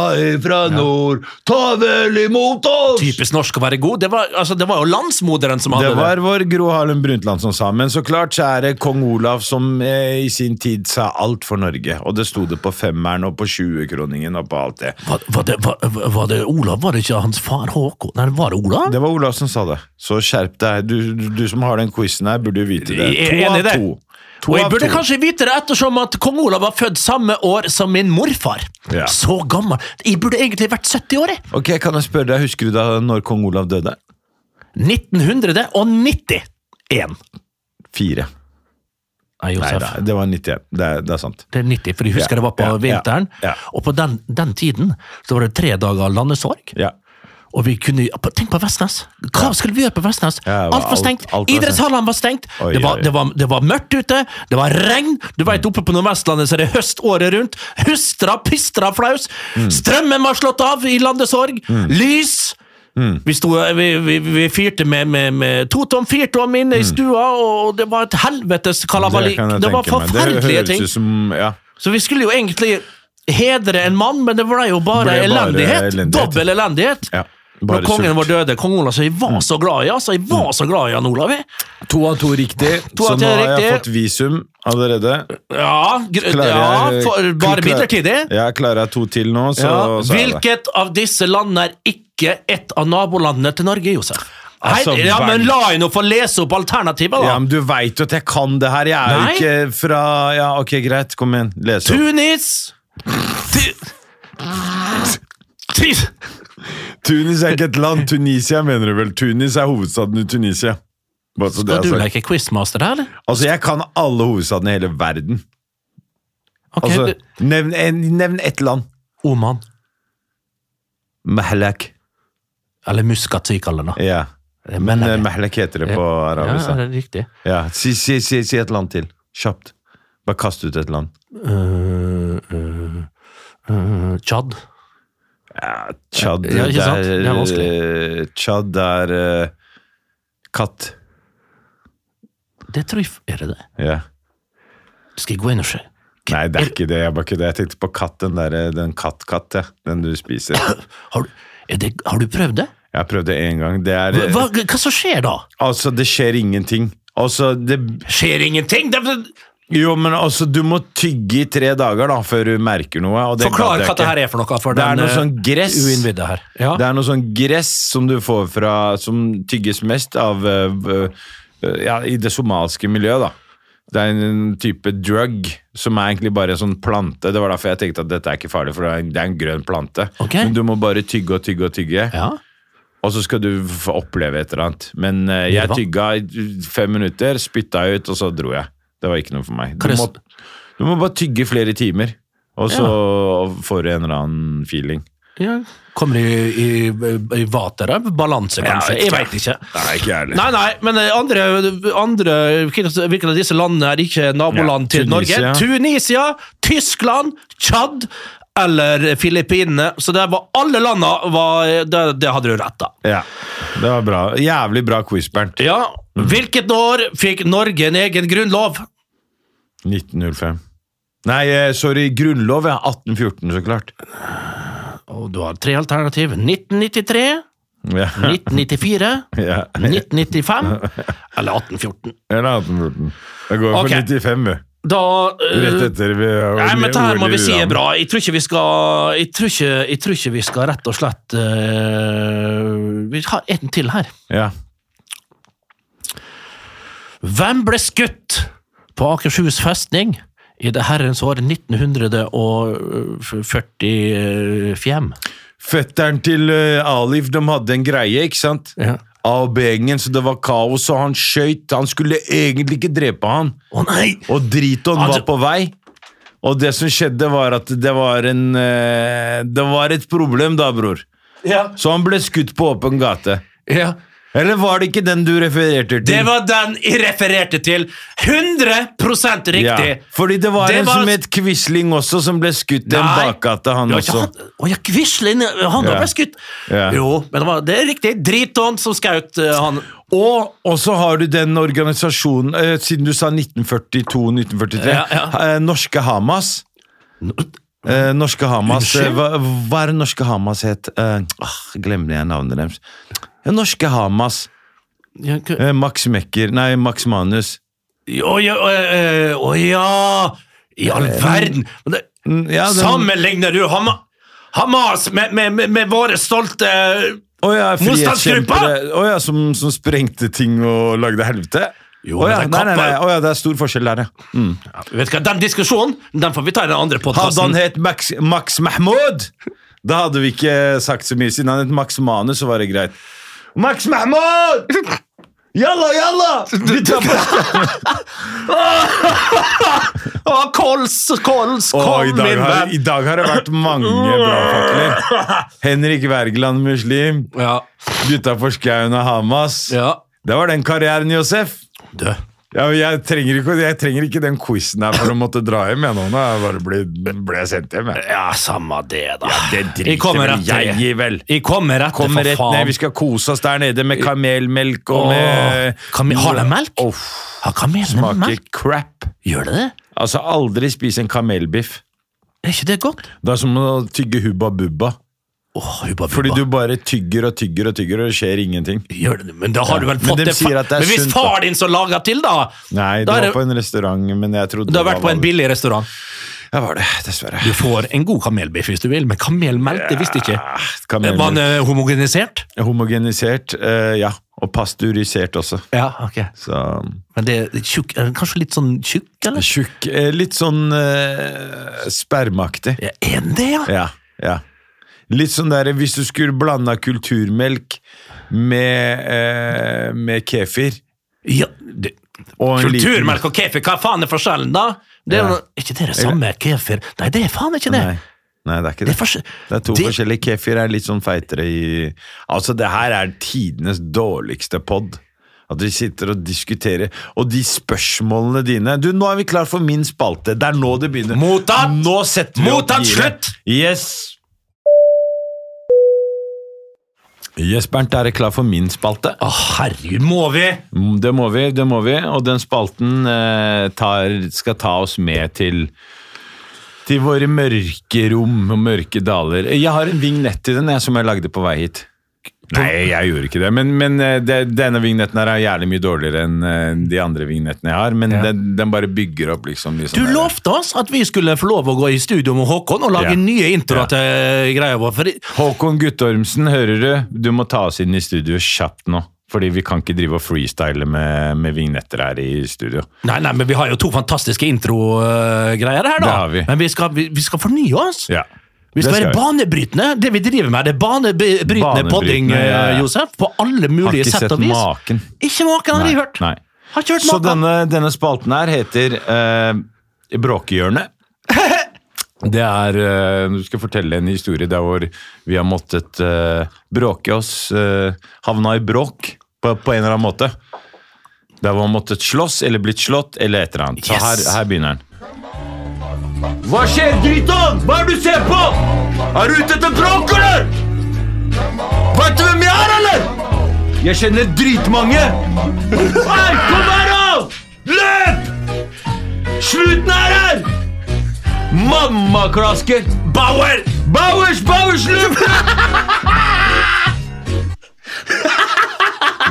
[SPEAKER 1] fra nord, ta vel imot oss'!
[SPEAKER 2] Typisk norsk å være god. Det var, altså, det var jo landsmoderen som hadde
[SPEAKER 1] Det var vår Gro Harlem Brundtland som sa, men så klart så er det kong Olav som eh, i sin tid sa alt for Norge, og det sto det på femmeren og på 20-kroningen og på alt det.
[SPEAKER 2] Var, var, det, var, var det Olav? Var det ikke hans far Håkon? Nei, var det Olav?
[SPEAKER 1] Det var Olav som sa det, så skjerp deg. Du, du, du som har den quizen her, burde jo vite det.
[SPEAKER 2] Jeg
[SPEAKER 1] To
[SPEAKER 2] er enig i
[SPEAKER 1] av
[SPEAKER 2] det.
[SPEAKER 1] to. To
[SPEAKER 2] Og jeg
[SPEAKER 1] av
[SPEAKER 2] burde
[SPEAKER 1] to.
[SPEAKER 2] kanskje vite det ettersom at kong Olav var født samme år som min morfar.
[SPEAKER 1] Ja.
[SPEAKER 2] Så gammel. Jeg burde egentlig vært 70 år, jeg.
[SPEAKER 1] Ok, kan jeg spørre deg, husker du da når kong Olav døde?
[SPEAKER 2] 1991. Nei,
[SPEAKER 1] Fire. Nei
[SPEAKER 2] Josef.
[SPEAKER 1] da, det var 91. Det er, det er sant.
[SPEAKER 2] Det er 90, for jeg husker
[SPEAKER 1] Ja,
[SPEAKER 2] det var på
[SPEAKER 1] ja, ja,
[SPEAKER 2] vinteren.
[SPEAKER 1] ja.
[SPEAKER 2] Og på den, den tiden så var det tre dager landesorg.
[SPEAKER 1] Ja.
[SPEAKER 2] Og vi kunne, Tenk på Vestnes! Hva skulle vi gjøre på Vestnes?
[SPEAKER 1] Ja, det var
[SPEAKER 2] alt var
[SPEAKER 1] alt-
[SPEAKER 2] stengt!
[SPEAKER 1] alt var stengt.
[SPEAKER 2] Idrettshallene var stengt!
[SPEAKER 1] Oi,
[SPEAKER 2] det, var,
[SPEAKER 1] oi. Mm.
[SPEAKER 2] det, var, det var mørkt ute, det var regn. Du veit, oppe på Nordvestlandet så er det høst året rundt. Hustra, pistra, flaus.
[SPEAKER 1] Mm.
[SPEAKER 2] Strømmen var slått av i landesorg. Lys!
[SPEAKER 1] Mm.
[SPEAKER 2] Vi, sto, vi, vi, vi fyrte med, med, med to tom, firtom inne i stua, og det var et helvetes kalabalik.
[SPEAKER 1] Mm. kan
[SPEAKER 2] Det,
[SPEAKER 1] jeg
[SPEAKER 2] var
[SPEAKER 1] tenke meg.
[SPEAKER 2] forferdelige
[SPEAKER 1] Det
[SPEAKER 2] ting.
[SPEAKER 1] høres ut som ja.
[SPEAKER 2] Så vi skulle jo egentlig hedre en mann, men det ble jo bare,
[SPEAKER 1] Ble bare
[SPEAKER 2] elendighet.
[SPEAKER 1] elendighet.
[SPEAKER 2] Dobbel elendighet.
[SPEAKER 1] Ja. Bare
[SPEAKER 2] Når kongen
[SPEAKER 1] sult. Mm.
[SPEAKER 2] vår døde, kong Olav, så jeg var så glad i altså, jeg var så glad i han, Olav. jeg.
[SPEAKER 4] To av to riktig.
[SPEAKER 2] To
[SPEAKER 1] Så nå
[SPEAKER 2] av tre
[SPEAKER 1] har jeg
[SPEAKER 2] riktig.
[SPEAKER 1] fått visum allerede.
[SPEAKER 2] Ja, gr-
[SPEAKER 1] Klarer
[SPEAKER 2] ja
[SPEAKER 1] jeg-
[SPEAKER 2] for, bare
[SPEAKER 1] klar-
[SPEAKER 2] midlertidig.
[SPEAKER 1] Ja, klarer jeg to til nå, så,
[SPEAKER 2] Ja.
[SPEAKER 1] så er det.
[SPEAKER 2] Hvilket av disse landene er ikke et av nabolandene til Norge, Josef? Hei,
[SPEAKER 1] Altså,
[SPEAKER 2] ja, men
[SPEAKER 1] verden-
[SPEAKER 2] La henne få lese opp alternativet, da!
[SPEAKER 1] Ja, men du veit jo at jeg kan det her. Jeg er
[SPEAKER 2] Nei.
[SPEAKER 1] jo ikke fra Ja, ok, greit. Kom igjen. Les opp.
[SPEAKER 2] Tunis Ti- Ti-
[SPEAKER 1] Tunis er ikke et land. Tunisia mener du vel. Tunis er hovedstaden i Tunisia. Bare så det
[SPEAKER 2] Skal
[SPEAKER 1] er altså-
[SPEAKER 2] du
[SPEAKER 1] sagt.
[SPEAKER 2] leke quizmaster her, eller?
[SPEAKER 1] Altså, jeg kan alle hovedstadene i hele verden.
[SPEAKER 2] Ok,
[SPEAKER 1] Altså,
[SPEAKER 2] du-
[SPEAKER 1] nevn, en, nevn ett land.
[SPEAKER 2] Oman.
[SPEAKER 1] Mahlak.
[SPEAKER 2] Eller Muscat, som vi kaller det. nå.
[SPEAKER 1] Ja.
[SPEAKER 2] Det er
[SPEAKER 1] Men
[SPEAKER 2] Malak.
[SPEAKER 1] eh, Mahlak heter det på
[SPEAKER 2] Ja,
[SPEAKER 1] arabisk.
[SPEAKER 2] det er riktig.
[SPEAKER 1] Ja. Si, si, si, si et land til. Kjapt. Bare kast ut et land.
[SPEAKER 2] Øh, øh, øh, Tsjad.
[SPEAKER 1] Ja, Tsjad
[SPEAKER 2] Ja, ikke sant? Det er vanskelig.
[SPEAKER 1] eh, Tsjad er eh, katt.
[SPEAKER 2] Det tror jeg f- Er det det?
[SPEAKER 1] Ja.
[SPEAKER 2] Skal jeg gå inn og se?
[SPEAKER 1] Nei, det er ikke det. Jeg, bare ikke det. jeg tenkte på katt, den der, eh, den katt-katt, ja. den du spiser.
[SPEAKER 2] Har, du- er det, har du prøvd det?
[SPEAKER 1] Jeg prøvde én gang. Det er eh,
[SPEAKER 2] Hva, hva, hva som skjer da?
[SPEAKER 1] Altså, det skjer ingenting. Altså, det
[SPEAKER 2] Skjer ingenting! Det, det,
[SPEAKER 1] Jo, men altså, du må tygge i tre dager da, før du merker noe. Og det gadd
[SPEAKER 2] Forklar
[SPEAKER 1] jeg
[SPEAKER 2] hva det
[SPEAKER 1] ikke.
[SPEAKER 2] her er for noe. For
[SPEAKER 1] Det er
[SPEAKER 2] den,
[SPEAKER 1] noe
[SPEAKER 2] eh,
[SPEAKER 1] sånn gress.
[SPEAKER 2] uinnvidde her. Ja.
[SPEAKER 1] Det er noe sånn gress som du får fra Som tygges mest av eh, v- eh, Ja, i det somaliske miljøet, da. Det er en type drug som er egentlig bare en sånn plante. Det var derfor jeg tenkte at dette er ikke farlig, for det er en, det er en grønn plante.
[SPEAKER 2] Ok.
[SPEAKER 1] Men du må bare tygge og tygge og tygge,
[SPEAKER 2] ja.
[SPEAKER 1] og så skal du få oppleve et eller annet. Men eh, jeg
[SPEAKER 2] Hva?
[SPEAKER 1] tygga i fem minutter, spytta ut, og så dro jeg. Det var ikke noe for meg.
[SPEAKER 2] Kan
[SPEAKER 1] Du
[SPEAKER 2] jeg
[SPEAKER 1] må,
[SPEAKER 2] s-
[SPEAKER 1] du må bare tygge flere timer, og så får du en eller annen feeling.
[SPEAKER 2] ja. Kommer i, i, i vater av balanse, kanskje.
[SPEAKER 1] jeg
[SPEAKER 2] jeg
[SPEAKER 1] vet
[SPEAKER 2] veit ikke.
[SPEAKER 1] Nei, ikke jeg
[SPEAKER 2] Nei, nei, men eh, andre, andre Hvilke av disse landene er ikke naboland
[SPEAKER 1] Ja,
[SPEAKER 2] til Norge? Tunisia, Tyskland, Tsjad eller Filippinene. Så det var alle landene var, det, det hadde du rett, da.
[SPEAKER 1] Ja, det var bra. Jævlig bra quiz, Bernt.
[SPEAKER 2] Ja. Hvilket år fikk Norge en egen grunnlov?
[SPEAKER 1] 1905. Nei, eh, sorry, grunnlov, ja. 1814, så klart.
[SPEAKER 2] Og du har tre alternativ. 1993,
[SPEAKER 1] Ja.
[SPEAKER 2] 1994
[SPEAKER 1] ja.
[SPEAKER 2] 1995 eller 1814.
[SPEAKER 1] Eller 1814. Det går for
[SPEAKER 2] Ok.
[SPEAKER 1] 95, vi.
[SPEAKER 2] Da eh,
[SPEAKER 1] Rett etter vi
[SPEAKER 2] Nei, men dette her må vi si er bra. Jeg tror ikke vi skal Jeg tror ikke, jeg tror ikke vi skal rett og slett eh, Vi har en til her.
[SPEAKER 1] Ja.
[SPEAKER 2] Hvem ble skutt på Akershus festning i det herrens år 1945?
[SPEAKER 1] Fetteren til eh, Alif, de hadde en greie, ikke sant?
[SPEAKER 2] Ja.
[SPEAKER 1] A og B-gjengen, så det var kaos, og han skøyt. Han skulle egentlig ikke drepe han.
[SPEAKER 2] Å nei!
[SPEAKER 1] Og Driton var
[SPEAKER 2] Altså-
[SPEAKER 1] på vei. Og det som skjedde, var at det var en eh, Det var et problem, da, bror.
[SPEAKER 2] Ja.
[SPEAKER 1] Så han ble skutt på åpen gate.
[SPEAKER 2] ja.
[SPEAKER 1] Eller var det ikke den du refererte til?
[SPEAKER 2] Det var den jeg refererte til. 100 riktig!
[SPEAKER 1] Ja, fordi det var
[SPEAKER 2] Det
[SPEAKER 1] en
[SPEAKER 2] var-
[SPEAKER 1] som het Quisling også, som ble skutt i en
[SPEAKER 2] Nei.
[SPEAKER 1] bakgate, han
[SPEAKER 2] Ja, ikke
[SPEAKER 1] også.
[SPEAKER 2] han, å ja, Quisling! Han
[SPEAKER 1] Ja.
[SPEAKER 2] ble skutt!
[SPEAKER 1] Ja.
[SPEAKER 2] Jo, men det, var, det er riktig. Driton som skjøt eh, han.
[SPEAKER 1] Og, og så har du den organisasjonen, eh, siden du sa 1942-1943,
[SPEAKER 2] Ja, ja.
[SPEAKER 1] eh, norske Hamas. Eh, norske Hamas eh,
[SPEAKER 2] Unnskyld?
[SPEAKER 1] hva, hva er det norske Hamas het? Eh, åh, glemmer jeg navnet deres. Ja, norske Hamas.
[SPEAKER 2] Ja, k-
[SPEAKER 1] Eh, Max Mekker Nei, Max Manus.
[SPEAKER 2] Å ja, å, eh, å ja! I all verden! Men det,
[SPEAKER 1] Mm, Ja, den-
[SPEAKER 2] sammenligner du Hama, Hamas med, med, med, med våre stolte eh,
[SPEAKER 1] Å ja,
[SPEAKER 2] Motstandsgruppa!
[SPEAKER 1] frihetskjempere. Å ja, som, som sprengte ting og lagde helvete?
[SPEAKER 2] Jo,
[SPEAKER 1] Å ja,
[SPEAKER 2] men det
[SPEAKER 1] nei,
[SPEAKER 2] er
[SPEAKER 1] nei, nei.
[SPEAKER 2] kappa-
[SPEAKER 1] Å ja, det er stor forskjell der, ja.
[SPEAKER 2] Vet du hva, Den diskusjonen den får vi ta i den andre
[SPEAKER 1] Hadde han
[SPEAKER 2] podkasten.
[SPEAKER 1] hett Max, Max Mahmoud, da hadde vi ikke sagt så mye. Siden han het Max Manus, så var det greit. Max Mahmoud! Jalla, jalla! Vi tar på-
[SPEAKER 2] Kols, kols,
[SPEAKER 1] Å,
[SPEAKER 2] kom,
[SPEAKER 1] i, dag
[SPEAKER 2] min
[SPEAKER 1] har,
[SPEAKER 2] venn!
[SPEAKER 1] I dag har det vært mange brannfakler. Henrik Wergeland, muslim.
[SPEAKER 2] Ja,
[SPEAKER 1] Gutta for skauen av Hamas.
[SPEAKER 2] ja.
[SPEAKER 1] Det var den karrieren, Josef.
[SPEAKER 2] Du.
[SPEAKER 1] Ja, men jeg, trenger ikke, jeg trenger ikke den quizen her for å måtte dra hjem. Jeg nå Nå er jeg bare ble, ble jeg sendt hjem. Jeg.
[SPEAKER 2] Ja, samme det, da.
[SPEAKER 1] Det
[SPEAKER 2] Jeg kommer rett til det.
[SPEAKER 1] i, vel.
[SPEAKER 2] Jeg kommer etter,
[SPEAKER 1] Kommer
[SPEAKER 2] for
[SPEAKER 1] rett
[SPEAKER 2] faen. Eh,
[SPEAKER 1] ned. Vi skal kose oss der nede med kamelmelk og
[SPEAKER 2] Åh,
[SPEAKER 1] med
[SPEAKER 2] kame- har de melk?
[SPEAKER 1] Uff,
[SPEAKER 2] Har kamelen
[SPEAKER 1] smaker
[SPEAKER 2] melk?
[SPEAKER 1] crap.
[SPEAKER 2] Gjør det det?
[SPEAKER 1] Altså, aldri spis en kamelbiff.
[SPEAKER 2] Er ikke det godt?
[SPEAKER 1] Det er som å tygge hubba bubba.
[SPEAKER 2] Åh, hubba, bubba.
[SPEAKER 1] Fordi du bare tygger og tygger og tygger, og det skjer ingenting.
[SPEAKER 2] Gjør det, men da har du vel
[SPEAKER 1] Men
[SPEAKER 2] fått
[SPEAKER 1] de
[SPEAKER 2] det, fa-
[SPEAKER 1] sier at det er
[SPEAKER 2] Men hvis
[SPEAKER 1] sunt,
[SPEAKER 2] far din så lager til, da!
[SPEAKER 1] Nei, det
[SPEAKER 2] da er
[SPEAKER 1] var
[SPEAKER 2] det-
[SPEAKER 1] på en restaurant, men jeg trodde
[SPEAKER 2] Du har vært på en
[SPEAKER 1] vanlig.
[SPEAKER 2] billig restaurant.
[SPEAKER 1] Ja, var det, dessverre.
[SPEAKER 2] Du får en god kamelbiff hvis du vil, men kamelmelk, det visste jeg ikke.
[SPEAKER 1] Ah,
[SPEAKER 2] Var den
[SPEAKER 1] Kamelmelk.
[SPEAKER 2] eh, homogenisert?
[SPEAKER 1] Homogenisert, eh, ja. Og pasteurisert også.
[SPEAKER 2] Ja, ok.
[SPEAKER 1] Så
[SPEAKER 2] Men det er tjukk, er den kanskje litt sånn tjukk, eller?
[SPEAKER 1] Tjukk. eh, Litt sånn eh, spermaktig.
[SPEAKER 2] Ja, Er den det, ja?
[SPEAKER 1] Ja, ja. Litt sånn der, hvis du skulle blanda kulturmelk med, eh, med kefir
[SPEAKER 2] ja det,
[SPEAKER 1] og en liten-
[SPEAKER 2] kulturmelk og kefir, hva faen er forskjellen, da? Det er
[SPEAKER 1] Ja.
[SPEAKER 2] jo- ikke det det samme kefir? Nei, det er faen ikke det.
[SPEAKER 1] Nei. Nei, det er ikke
[SPEAKER 2] Det
[SPEAKER 1] det.
[SPEAKER 2] er, forskjell-
[SPEAKER 1] Det er to
[SPEAKER 2] det-
[SPEAKER 1] forskjellige. Kefir er litt sånn feitere i Altså, det her er tidenes dårligste pod. At de sitter og diskuterer. Og de spørsmålene dine Du, nå er vi klar for min spalte. Det er nå det begynner.
[SPEAKER 2] Mottatt!
[SPEAKER 1] Nå setter vi
[SPEAKER 2] Mottatt,
[SPEAKER 1] opp giret.
[SPEAKER 2] slutt!
[SPEAKER 1] Yes! Yes, Bernt, er du klar for min spalte?
[SPEAKER 2] Å, herregud, må vi?
[SPEAKER 1] Mm, Det må vi, det må vi. Og den spalten eh, tar, skal ta oss med til til våre mørke rom og mørke daler. Jeg har en vignett til den jeg, som jeg lagde på vei hit. Nei, jeg gjorde ikke det. Men, men eh, det, denne vignetten her er jævlig mye dårligere enn eh, de andre vignettene jeg har. Men
[SPEAKER 2] Ja.
[SPEAKER 1] den, den bare bygger opp liksom de
[SPEAKER 2] Du
[SPEAKER 1] sånne-
[SPEAKER 2] lovte oss at vi skulle få lov å gå i studio med Håkon og lage
[SPEAKER 1] Ja.
[SPEAKER 2] nye introer
[SPEAKER 1] Ja.
[SPEAKER 2] til greia vår. For det-
[SPEAKER 1] Håkon Guttormsen, hører du? Du må ta oss inn i studio kjapt nå. Fordi vi kan ikke drive og freestyle med, med vignetter her i studio.
[SPEAKER 2] nei, nei, men vi har jo to fantastiske introgreier her, da.
[SPEAKER 1] Det har vi.
[SPEAKER 2] Men vi skal, vi, vi skal fornye oss.
[SPEAKER 1] Ja.
[SPEAKER 2] Vi skal
[SPEAKER 1] Det
[SPEAKER 2] være banebrytende. Det vi driver med, det er banebrytende
[SPEAKER 1] Banebrytende,
[SPEAKER 2] podding, eh,
[SPEAKER 1] ja, ja.
[SPEAKER 2] Josef. På alle
[SPEAKER 1] Har
[SPEAKER 2] mulige
[SPEAKER 1] ikke
[SPEAKER 2] sett
[SPEAKER 1] sett
[SPEAKER 2] og vis.
[SPEAKER 1] maken.
[SPEAKER 2] Ikke maken har jeg hørt.
[SPEAKER 1] Nei.
[SPEAKER 2] Har ikke hørt
[SPEAKER 1] Så
[SPEAKER 2] maken.
[SPEAKER 1] denne, denne spalten her heter eh, Bråkehjørnet. Det er eh, Du skal fortelle en historie der hvor vi har måttet eh, bråke oss. eh, havna i bråk på, på en eller annen måte. Der hvor man måttet slåss eller blitt slått eller et eller annet. Så her,
[SPEAKER 2] Yes.
[SPEAKER 1] her begynner den. Hva skjer, dritton? Hva er det du ser på? Er du ute etter bråk, eller? Veit du hvem jeg er, eller? Jeg kjenner dritmange. Hei, kom her, da! Løp! Slutten er her! Mammaklasker! Bauer! Bauers, Bauers, løp!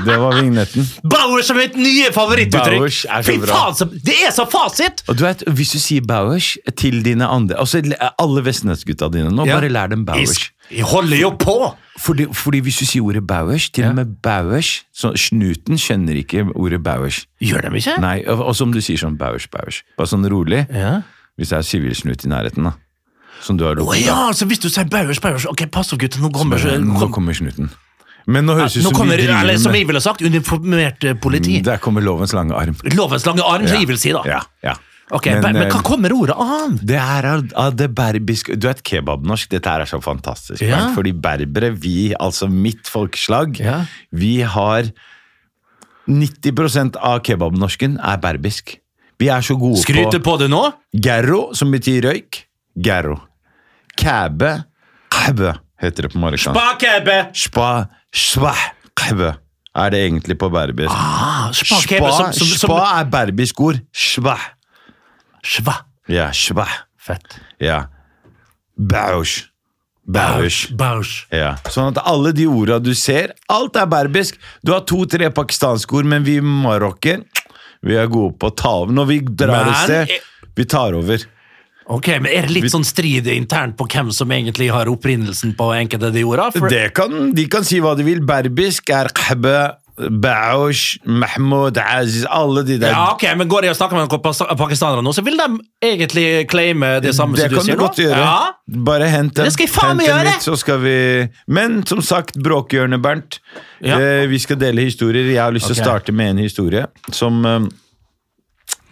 [SPEAKER 1] Det var vignetten.
[SPEAKER 2] Bauer som mitt nye favorittuttrykk.
[SPEAKER 1] Bauers er så
[SPEAKER 2] Fy
[SPEAKER 1] bra.
[SPEAKER 2] faen, så, det er så fasit!
[SPEAKER 1] Og du vet, Hvis du sier Bauers til dine andre altså Alle Vestnesgutta dine nå, bare lær dem Bauers.
[SPEAKER 2] Jeg, jeg holder jo på.
[SPEAKER 1] Fordi, fordi hvis du sier ordet Bauers, til og med Bauers så Snuten skjønner ikke ordet Bauers.
[SPEAKER 2] Gjør de ikke?
[SPEAKER 1] Nei, og, og som du sier sånn Bauers, Bauers. Bare sånn rolig.
[SPEAKER 2] Ja.
[SPEAKER 1] Hvis det er sivilsnut i nærheten, da. Som du har
[SPEAKER 2] Å
[SPEAKER 1] lukket.
[SPEAKER 2] ja, så hvis du sier Bauers, Bauers Ok, pass opp, gutter, nå kommer,
[SPEAKER 1] Nå
[SPEAKER 2] kom,
[SPEAKER 1] kommer snuten. Men nå høres det ut
[SPEAKER 2] nå
[SPEAKER 1] som
[SPEAKER 2] kommer
[SPEAKER 1] vi
[SPEAKER 2] eller,
[SPEAKER 1] driver
[SPEAKER 2] Som
[SPEAKER 1] med
[SPEAKER 2] jeg ville sagt, uniformert eh, politi.
[SPEAKER 1] Der kommer lovens lange arm.
[SPEAKER 2] Lovens lange arm, som
[SPEAKER 1] Ja.
[SPEAKER 2] jeg vil si, da.
[SPEAKER 1] Ja, ja.
[SPEAKER 2] Ok, men, men,
[SPEAKER 1] eh,
[SPEAKER 2] hva kommer ordet av?
[SPEAKER 1] Det her er av det berbiske Du vet kebabnorsk, dette her er så fantastisk.
[SPEAKER 2] Ja.
[SPEAKER 1] Bernt, Fordi berbere, vi, altså mitt folkeslag,
[SPEAKER 2] Ja.
[SPEAKER 1] vi har 90 av kebabnorsken er berbisk. Vi er så gode
[SPEAKER 2] Skryter
[SPEAKER 1] på
[SPEAKER 2] på det nå?
[SPEAKER 1] Gerro, som betyr røyk. Gerro. Kæbe. Kæbe, heter det på marokkansk.
[SPEAKER 2] Spakebe!
[SPEAKER 1] Spa. Sva. Kæbe er det egentlig på berbisk.
[SPEAKER 2] Ah, spakebe
[SPEAKER 1] Spa,
[SPEAKER 2] som, som, som,
[SPEAKER 1] spa er berbisk ord. Sva.
[SPEAKER 2] Sva.
[SPEAKER 1] Ja, sva.
[SPEAKER 2] Fett.
[SPEAKER 1] Ja. Bausch. Bausch.
[SPEAKER 2] Bausch.
[SPEAKER 1] Ja. Sånn at alle de orda du ser, alt er berbisk. Du har to-tre pakistanske ord, men vi marokker vi er gode på å ta over. Når vi drar
[SPEAKER 2] Men-
[SPEAKER 1] et sted, vi tar over.
[SPEAKER 2] Ok, men Er det litt sånn strid internt på hvem som egentlig har opprinnelsen på enkelte av de ordene? For-
[SPEAKER 1] Det kan, de kan si hva de vil. Berbisk er qhbe, baush, mahmoud, aziz Alle de der.
[SPEAKER 2] Ja, ok, men Går jeg og snakker med noen pas- pakistanere nå, så vil de egentlig claime det samme
[SPEAKER 1] det
[SPEAKER 2] som du
[SPEAKER 1] kan
[SPEAKER 2] sier
[SPEAKER 1] du godt
[SPEAKER 2] nå?
[SPEAKER 1] gjøre.
[SPEAKER 2] Ja.
[SPEAKER 1] Bare hent en,
[SPEAKER 2] Det skal jeg faen
[SPEAKER 1] hent
[SPEAKER 2] meg
[SPEAKER 1] en
[SPEAKER 2] gjøre!
[SPEAKER 1] litt, så skal vi Men som sagt, bråkhjørnet, Bernt.
[SPEAKER 2] Ja.
[SPEAKER 1] Eh, vi skal dele historier. Jeg har lyst til
[SPEAKER 2] Ok.
[SPEAKER 1] å starte med en historie som eh,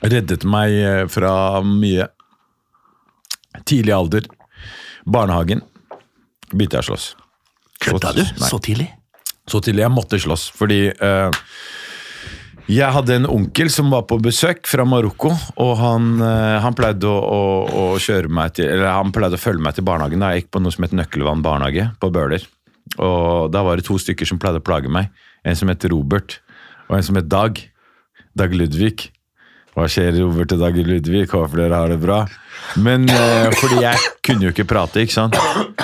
[SPEAKER 1] reddet meg eh, fra mye. Tidlig alder. Barnehagen. Begynte jeg å slåss.
[SPEAKER 2] Kødda du?
[SPEAKER 1] Nei.
[SPEAKER 2] Så tidlig?
[SPEAKER 1] Så til jeg måtte slåss, fordi eh, jeg hadde en onkel som var på besøk fra Marokko, og han, eh, han pleide å, å, å kjøre meg til, eller han pleide å følge meg til barnehagen. da Jeg gikk på noe som het Nøkkelvann barnehage på Bøler. Og da var det to stykker som pleide å plage meg. En som het Robert, og en som het Dag. Dag Ludvig. Hva skjer, Robert og Dag og Ludvig? Håper dere har det bra. Men eh, fordi jeg kunne jo ikke prate, ikke sant?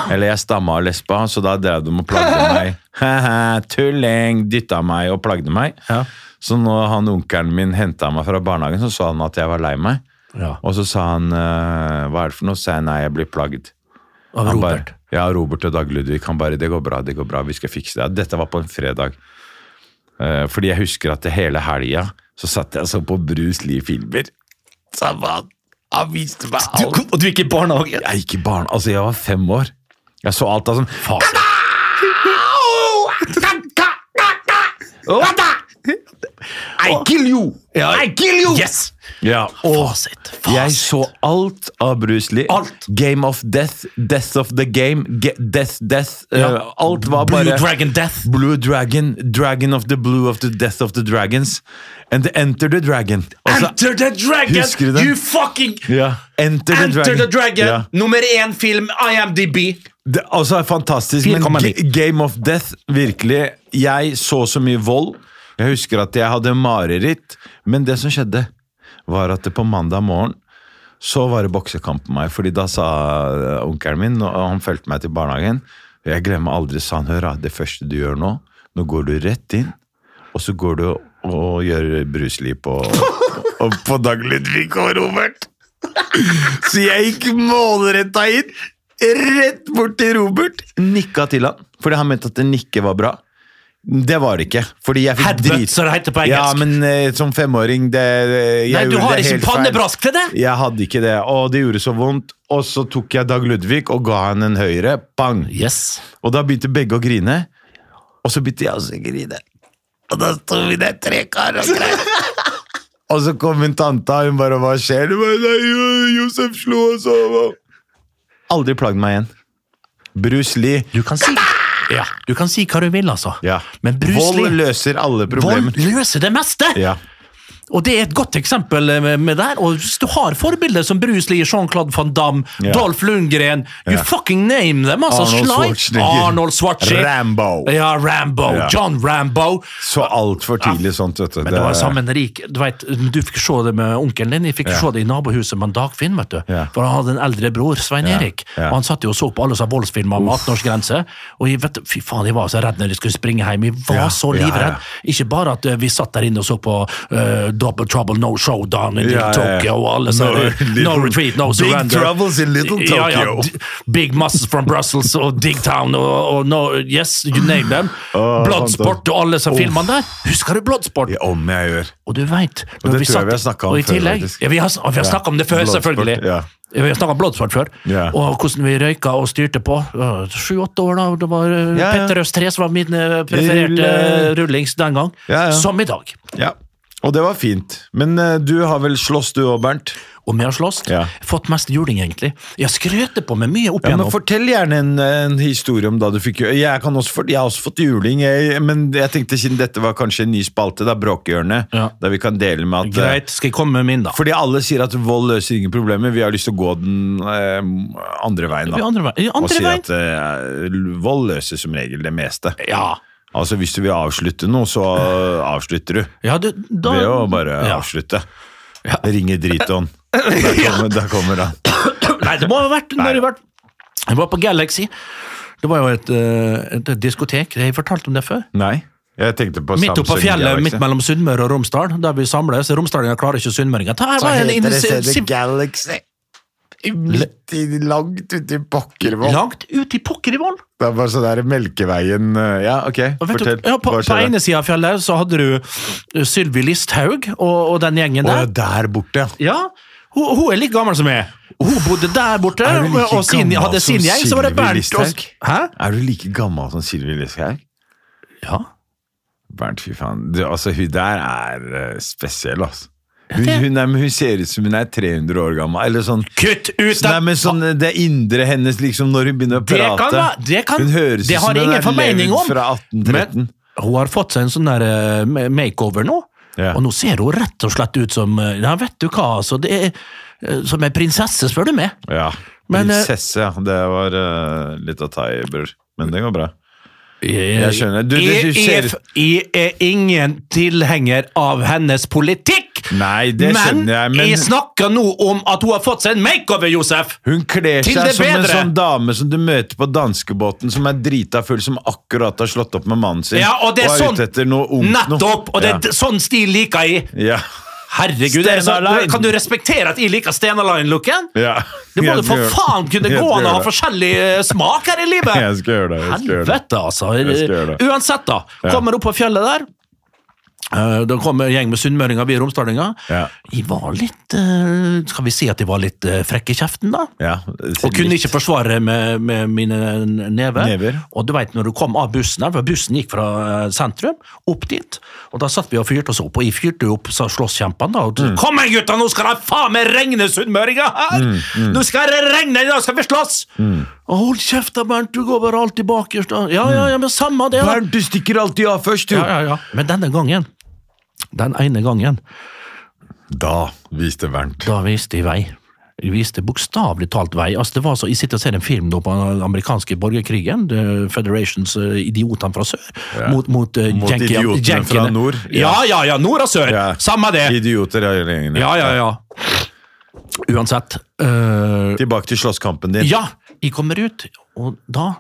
[SPEAKER 1] Eller jeg stamma og lespa, så da drev de og plagde meg. Haha, Tulling! Dytta meg og plagde meg.
[SPEAKER 2] Ja.
[SPEAKER 1] Så når han onkelen min henta meg fra barnehagen, så så han at jeg var lei meg.
[SPEAKER 2] Ja.
[SPEAKER 1] Og så sa han eh, 'hva er det for noe?' Så sa jeg nei, jeg blir plagd.
[SPEAKER 2] Av
[SPEAKER 1] Han
[SPEAKER 2] Robert.
[SPEAKER 1] Bare, ja, Robert og Dag Ludvig. Han bare 'det går bra, det går bra, vi skal fikse det'. Dette var på en fredag. Eh, fordi jeg husker at det hele helga så satt jeg og så på Bruce Lee-filmer. Så han, han viste meg alt.
[SPEAKER 2] og du gikk i barnehage?
[SPEAKER 1] Jeg gikk i barn, altså jeg var fem år. Jeg så alt av sånn I kill you! I kill you!
[SPEAKER 2] Yes!
[SPEAKER 1] Ja, og
[SPEAKER 2] Fasit.
[SPEAKER 1] jeg
[SPEAKER 2] Fasit.
[SPEAKER 1] så alt av Bruce Lee.
[SPEAKER 2] Alt.
[SPEAKER 1] Game of Death, Death of the Game, Ge Death, Death. eh,
[SPEAKER 2] Ja.
[SPEAKER 1] alt var
[SPEAKER 2] Blue
[SPEAKER 1] bare
[SPEAKER 2] Dragon Death.
[SPEAKER 1] Blue Dragon, Dragon of the Blue of the Death of the Dragons. And Enter the Dragon. Og så-
[SPEAKER 2] Enter the Dragon!
[SPEAKER 1] Husker du den?
[SPEAKER 2] You fucking
[SPEAKER 1] ja. Enter the
[SPEAKER 2] Enter
[SPEAKER 1] Dragon.
[SPEAKER 2] the Dragon!
[SPEAKER 1] Ja.
[SPEAKER 2] Nummer én film, IMDb.
[SPEAKER 1] Det altså er fantastisk, men
[SPEAKER 2] 4,9.
[SPEAKER 1] Ga- Game of Death, virkelig. Jeg så så mye vold. Jeg husker at jeg hadde mareritt, men det som skjedde, var at det på mandag morgen så var det boksekamp med meg, fordi da sa eh, onkelen min, og han fulgte meg til barnehagen og Jeg glemmer aldri, sa han, hør, da, det første du gjør nå, nå går du rett inn, og så går du og gjør bruselig på, og på Dag Ludvig og Robert. Så jeg gikk målretta inn, rett bort til Robert. Nikka til han, fordi han mente at det nikke var bra. Det var det ikke. Fordi jeg fikk
[SPEAKER 2] Headbutt, som det heter på engelsk.
[SPEAKER 1] Ja, men eh, som femåring det, eh, jeg
[SPEAKER 2] Nei, du
[SPEAKER 1] gjorde
[SPEAKER 2] har
[SPEAKER 1] det
[SPEAKER 2] ikke
[SPEAKER 1] helt
[SPEAKER 2] pannebrask
[SPEAKER 1] feil.
[SPEAKER 2] til det?
[SPEAKER 1] Jeg hadde ikke det, og det gjorde så vondt. Og så tok jeg Dag Ludvig og ga han en høyre. Bang!
[SPEAKER 2] Yes.
[SPEAKER 1] Og da begynte begge å grine. Og så begynte jeg også å grine. Og da sto vi der tre karer og grein. Og så kom hun tanta, og hun bare 'Hva skjer?' Du bare, Nei, jo, Josef slo oss over. Aldri plagd meg igjen. Bruce Lee.
[SPEAKER 2] Du kan si ja, Du kan si hva du vil, altså.
[SPEAKER 1] Ja.
[SPEAKER 2] Men Bruce
[SPEAKER 1] Vold
[SPEAKER 2] Lee
[SPEAKER 1] løser alle
[SPEAKER 2] Vold
[SPEAKER 1] problemer.
[SPEAKER 2] løser det meste!
[SPEAKER 1] Ja.
[SPEAKER 2] Og det er et godt eksempel eh, med med der. Og hvis du har forbilder som Bruce Lee, Jean-Claude van Damme,
[SPEAKER 1] Ja.
[SPEAKER 2] Dolph Lundgren You
[SPEAKER 1] Ja.
[SPEAKER 2] fucking name them, altså.
[SPEAKER 1] Arnold
[SPEAKER 2] Sly-
[SPEAKER 1] Schwarzenegger.
[SPEAKER 2] Arnold Schwarzenegger.
[SPEAKER 1] Rambo.
[SPEAKER 2] Ja, Rambo.
[SPEAKER 1] Ja.
[SPEAKER 2] John Rambo.
[SPEAKER 1] Så altfor tidlig sånt, vet du.
[SPEAKER 2] Men det var sammen rik Du vet, du fikk se det med onkelen din, jeg fikk
[SPEAKER 1] Ja.
[SPEAKER 2] se det i nabohuset med en Dagfinn, vet du.
[SPEAKER 1] Ja.
[SPEAKER 2] For han hadde en eldre bror, Svein
[SPEAKER 1] Ja,
[SPEAKER 2] Erik.
[SPEAKER 1] ja.
[SPEAKER 2] Og han satt jo og så på alle sånne voldsfilmer med 18-årsgrense. Og jeg vet, fy faen, jeg var så redd når jeg skulle springe hjem. Jeg var
[SPEAKER 1] Ja,
[SPEAKER 2] så
[SPEAKER 1] ja, ja.
[SPEAKER 2] livredd. Ikke bare at eh, vi satt der inne og så på eh, Double Trouble, No Showdown in
[SPEAKER 1] Ja, ja,
[SPEAKER 2] Little
[SPEAKER 1] ja.
[SPEAKER 2] Tokyo og alle sånne
[SPEAKER 1] No-
[SPEAKER 2] No,
[SPEAKER 1] Little-
[SPEAKER 2] Retreat, No
[SPEAKER 1] Big
[SPEAKER 2] Surrender.
[SPEAKER 1] Troubles in Little
[SPEAKER 2] Ja, ja,
[SPEAKER 1] Tokyo.
[SPEAKER 2] d- Big Muscles from Brussels og Dig Town og, og no, Yes, you name them.
[SPEAKER 1] Åh,
[SPEAKER 2] Bloodsport og alle disse
[SPEAKER 1] Uff.
[SPEAKER 2] filmene der. Husker du Bloodsport?
[SPEAKER 1] Ja, Om jeg gjør.
[SPEAKER 2] Og du veit
[SPEAKER 1] Og det tror jeg vi har snakket om før, faktisk.
[SPEAKER 2] Ja, vi har, vi har snakket om det før,
[SPEAKER 1] Bloodsport,
[SPEAKER 2] selvfølgelig.
[SPEAKER 1] ja.
[SPEAKER 2] Vi har snakket om Bloodsport før,
[SPEAKER 1] Ja.
[SPEAKER 2] og hvordan vi røyka og styrte på. Øh, Sju-åtte år, da. og Det var øh,
[SPEAKER 1] Ja, ja.
[SPEAKER 2] Petter Øst 3 som var min øh, prefererte
[SPEAKER 1] Rulle-
[SPEAKER 2] øh, rullings den gang.
[SPEAKER 1] Ja, ja.
[SPEAKER 2] Som i dag.
[SPEAKER 1] Ja. Og det var fint. Men eh, du har vel slåss du òg, Bernt?
[SPEAKER 2] Og vi har slåss.
[SPEAKER 1] Ja.
[SPEAKER 2] Fått mest juling, egentlig. Jeg skrøter på meg mye opp
[SPEAKER 1] Ja, men
[SPEAKER 2] igjennom.
[SPEAKER 1] Fortell gjerne en, en historie om da du fikk Jeg, kan også, fort- jeg har også fått juling, jeg, men jeg tenkte siden dette var kanskje en ny spalte, da, Bråkehjørnet,
[SPEAKER 2] Ja.
[SPEAKER 1] der vi kan dele med at
[SPEAKER 2] Greit, skal jeg komme med min, da?
[SPEAKER 1] Fordi alle sier at vold løser ingen problemer. Vi har lyst til å gå den eh, andre veien, da.
[SPEAKER 2] Vi andre veien.
[SPEAKER 1] og
[SPEAKER 2] Andre
[SPEAKER 1] si
[SPEAKER 2] veien.
[SPEAKER 1] at eh, vold løser som regel det meste.
[SPEAKER 2] Ja.
[SPEAKER 1] Altså Hvis du vil avslutte noe, så eh, avslutter du.
[SPEAKER 2] ja du, da,
[SPEAKER 1] Ved å bare
[SPEAKER 2] Ja.
[SPEAKER 1] avslutte. Ringe Driton. Der kommer, der kommer han.
[SPEAKER 2] Nei, det må ha vært
[SPEAKER 1] Nei.
[SPEAKER 2] når jeg var, jeg var på Galaxy. Det var jo et, eh, et diskotek. Jeg fortalte om det før.
[SPEAKER 1] Nei. Jeg tenkte på
[SPEAKER 2] Midt oppe på
[SPEAKER 1] Samsung
[SPEAKER 2] fjellet,
[SPEAKER 1] Galaxy.
[SPEAKER 2] midt mellom Sunnmøre og Romsdal, der vi samles. Romsdalingene klarer ikke sunnmøringene. Ta, Her var en inni- sim-
[SPEAKER 1] Galaxy. Midt i, langt uti pokker,
[SPEAKER 2] Langt ut i pokker i vold.
[SPEAKER 1] Det er bare sånn der Melkeveien eh, Ja, ok,
[SPEAKER 2] Og vet
[SPEAKER 1] fortell.
[SPEAKER 2] Du, ja, på,
[SPEAKER 1] Hva
[SPEAKER 2] på
[SPEAKER 1] skjer
[SPEAKER 2] ene
[SPEAKER 1] der?
[SPEAKER 2] sida av fjellet så hadde du eh, Sylvi Listhaug og, og den gjengen
[SPEAKER 1] Å, ja,
[SPEAKER 2] der.
[SPEAKER 1] der borte, ja.
[SPEAKER 2] Ja, hun, hun er like gammel som jeg. Hun bodde der borte,
[SPEAKER 1] Er du like
[SPEAKER 2] og sin,
[SPEAKER 1] gammel
[SPEAKER 2] hadde sin
[SPEAKER 1] som
[SPEAKER 2] gjeng. Så var det
[SPEAKER 1] Sylvi
[SPEAKER 2] Bernt
[SPEAKER 1] Listhaug?
[SPEAKER 2] og Hæ?
[SPEAKER 1] Er du like gammel som Sylvi Listhaug?
[SPEAKER 2] Ja.
[SPEAKER 1] Bernt, fy faen. Du, altså, hun der er eh, spesiell, altså. Hun,
[SPEAKER 2] det-
[SPEAKER 1] hun, er, men hun ser ut som hun er 300 år gammel. Eller sånn
[SPEAKER 2] Kutt ut
[SPEAKER 1] Nei, men sånn eh, Det indre hennes, liksom, når hun begynner å
[SPEAKER 2] Det
[SPEAKER 1] prate.
[SPEAKER 2] kan være- det kan-
[SPEAKER 1] hun høres ut
[SPEAKER 2] det har
[SPEAKER 1] som
[SPEAKER 2] jeg
[SPEAKER 1] hun
[SPEAKER 2] ingen
[SPEAKER 1] har
[SPEAKER 2] formening
[SPEAKER 1] levd
[SPEAKER 2] om.
[SPEAKER 1] fra 1813.
[SPEAKER 2] Men hun har fått seg en sånn der eh, ma- makeover nå,
[SPEAKER 1] Ja.
[SPEAKER 2] og nå ser hun rett og slett ut som eh, Ja, vet du hva, altså. Det er eh, som ei prinsesse, spør du meg.
[SPEAKER 1] Ja.
[SPEAKER 2] Men, eh,
[SPEAKER 1] Prinsesse, ja. Det var eh, litt å ta i, bror. Men det går bra.
[SPEAKER 2] Jeg E-,
[SPEAKER 1] skjønner. Du- du- du ser-
[SPEAKER 2] Jeg er ingen tilhenger av hennes politikk!
[SPEAKER 1] Nei, det
[SPEAKER 2] men,
[SPEAKER 1] skjønner jeg, men-
[SPEAKER 2] jeg snakker nå om at hun har fått seg en makeover, Josef!
[SPEAKER 1] Hun kler
[SPEAKER 2] Til
[SPEAKER 1] seg
[SPEAKER 2] det
[SPEAKER 1] som en
[SPEAKER 2] bedre.
[SPEAKER 1] sånn dame som du møter på danskebåten, som er drita full, som akkurat har slått opp med mannen sin.
[SPEAKER 2] Ja, og det er sånn
[SPEAKER 1] ute etter noe ungt nå.
[SPEAKER 2] Nettopp! Og det er d- sånn stil liker jeg!
[SPEAKER 1] Ja.
[SPEAKER 2] Herregud, er det sånn,
[SPEAKER 1] Stenar Line.
[SPEAKER 2] Kan du respektere at jeg liker Stena Line-looken?
[SPEAKER 1] ja. ja.
[SPEAKER 2] Det må
[SPEAKER 1] Jeg
[SPEAKER 2] jo
[SPEAKER 1] skal
[SPEAKER 2] for
[SPEAKER 1] gjøre-
[SPEAKER 2] faen kunne
[SPEAKER 1] Jeg
[SPEAKER 2] gå
[SPEAKER 1] skal
[SPEAKER 2] an å
[SPEAKER 1] gjøre
[SPEAKER 2] ha
[SPEAKER 1] det.
[SPEAKER 2] forskjellig eh, smak her i livet!
[SPEAKER 1] Jeg skal gjøre det. Jeg skal gjøre det.
[SPEAKER 2] Helvete, altså.
[SPEAKER 1] skal gjøre det.
[SPEAKER 2] Uansett, da.
[SPEAKER 1] Ja.
[SPEAKER 2] Kommer opp på fjellet der. eh, Da kommer en gjeng med sunnmøringer, vi romsdalinger.
[SPEAKER 1] Ja.
[SPEAKER 2] Jeg var litt eh, Skal vi si at jeg var litt eh, frekk i kjeften, da?
[SPEAKER 1] Ja.
[SPEAKER 2] Og kunne ikke forsvare med, med mine never.
[SPEAKER 1] Never.
[SPEAKER 2] Og du vet når du kom av bussen her, for bussen gikk fra eh, sentrum opp dit, og da satt vi og fyrte oss opp, og jeg fyrte jo opp sa slåsskjempene da, og
[SPEAKER 1] Mm.
[SPEAKER 2] du, kom igjen gutta, nå skal det faen meg regne sunnmøringer her!
[SPEAKER 1] Mm,
[SPEAKER 2] Nå skal det regne, da skal vi slåss! «Å, Hold kjeft da, Bernt, du går bare alltid bakerst. da.» Ja, ja, ja, men samme det. da.
[SPEAKER 1] Mm. Bernt, du stikker alltid av først, du!
[SPEAKER 2] Ja, ja, ja. Men denne gangen, den ene gangen,
[SPEAKER 1] Da viste Bernt.
[SPEAKER 2] Da viste de vei. De viste bokstavelig talt vei. Altså, det var så, jeg sitter og ser en film nå på den amerikanske borgerkrigen. The Federations eh, idiotene fra sør mot, mot, eh,
[SPEAKER 1] Mot
[SPEAKER 2] Yankee-
[SPEAKER 1] idiotene fra
[SPEAKER 2] Yankeene.
[SPEAKER 1] nord,
[SPEAKER 2] Ja,
[SPEAKER 1] ja.
[SPEAKER 2] ja, ja. Nord og sør.
[SPEAKER 1] Ja.
[SPEAKER 2] Samme det.
[SPEAKER 1] Idioter av gjengene.
[SPEAKER 2] Ja, ja, ja. Uansett. eh,
[SPEAKER 1] Tilbake til slåsskampen din.
[SPEAKER 2] ja, jeg kommer ut, og da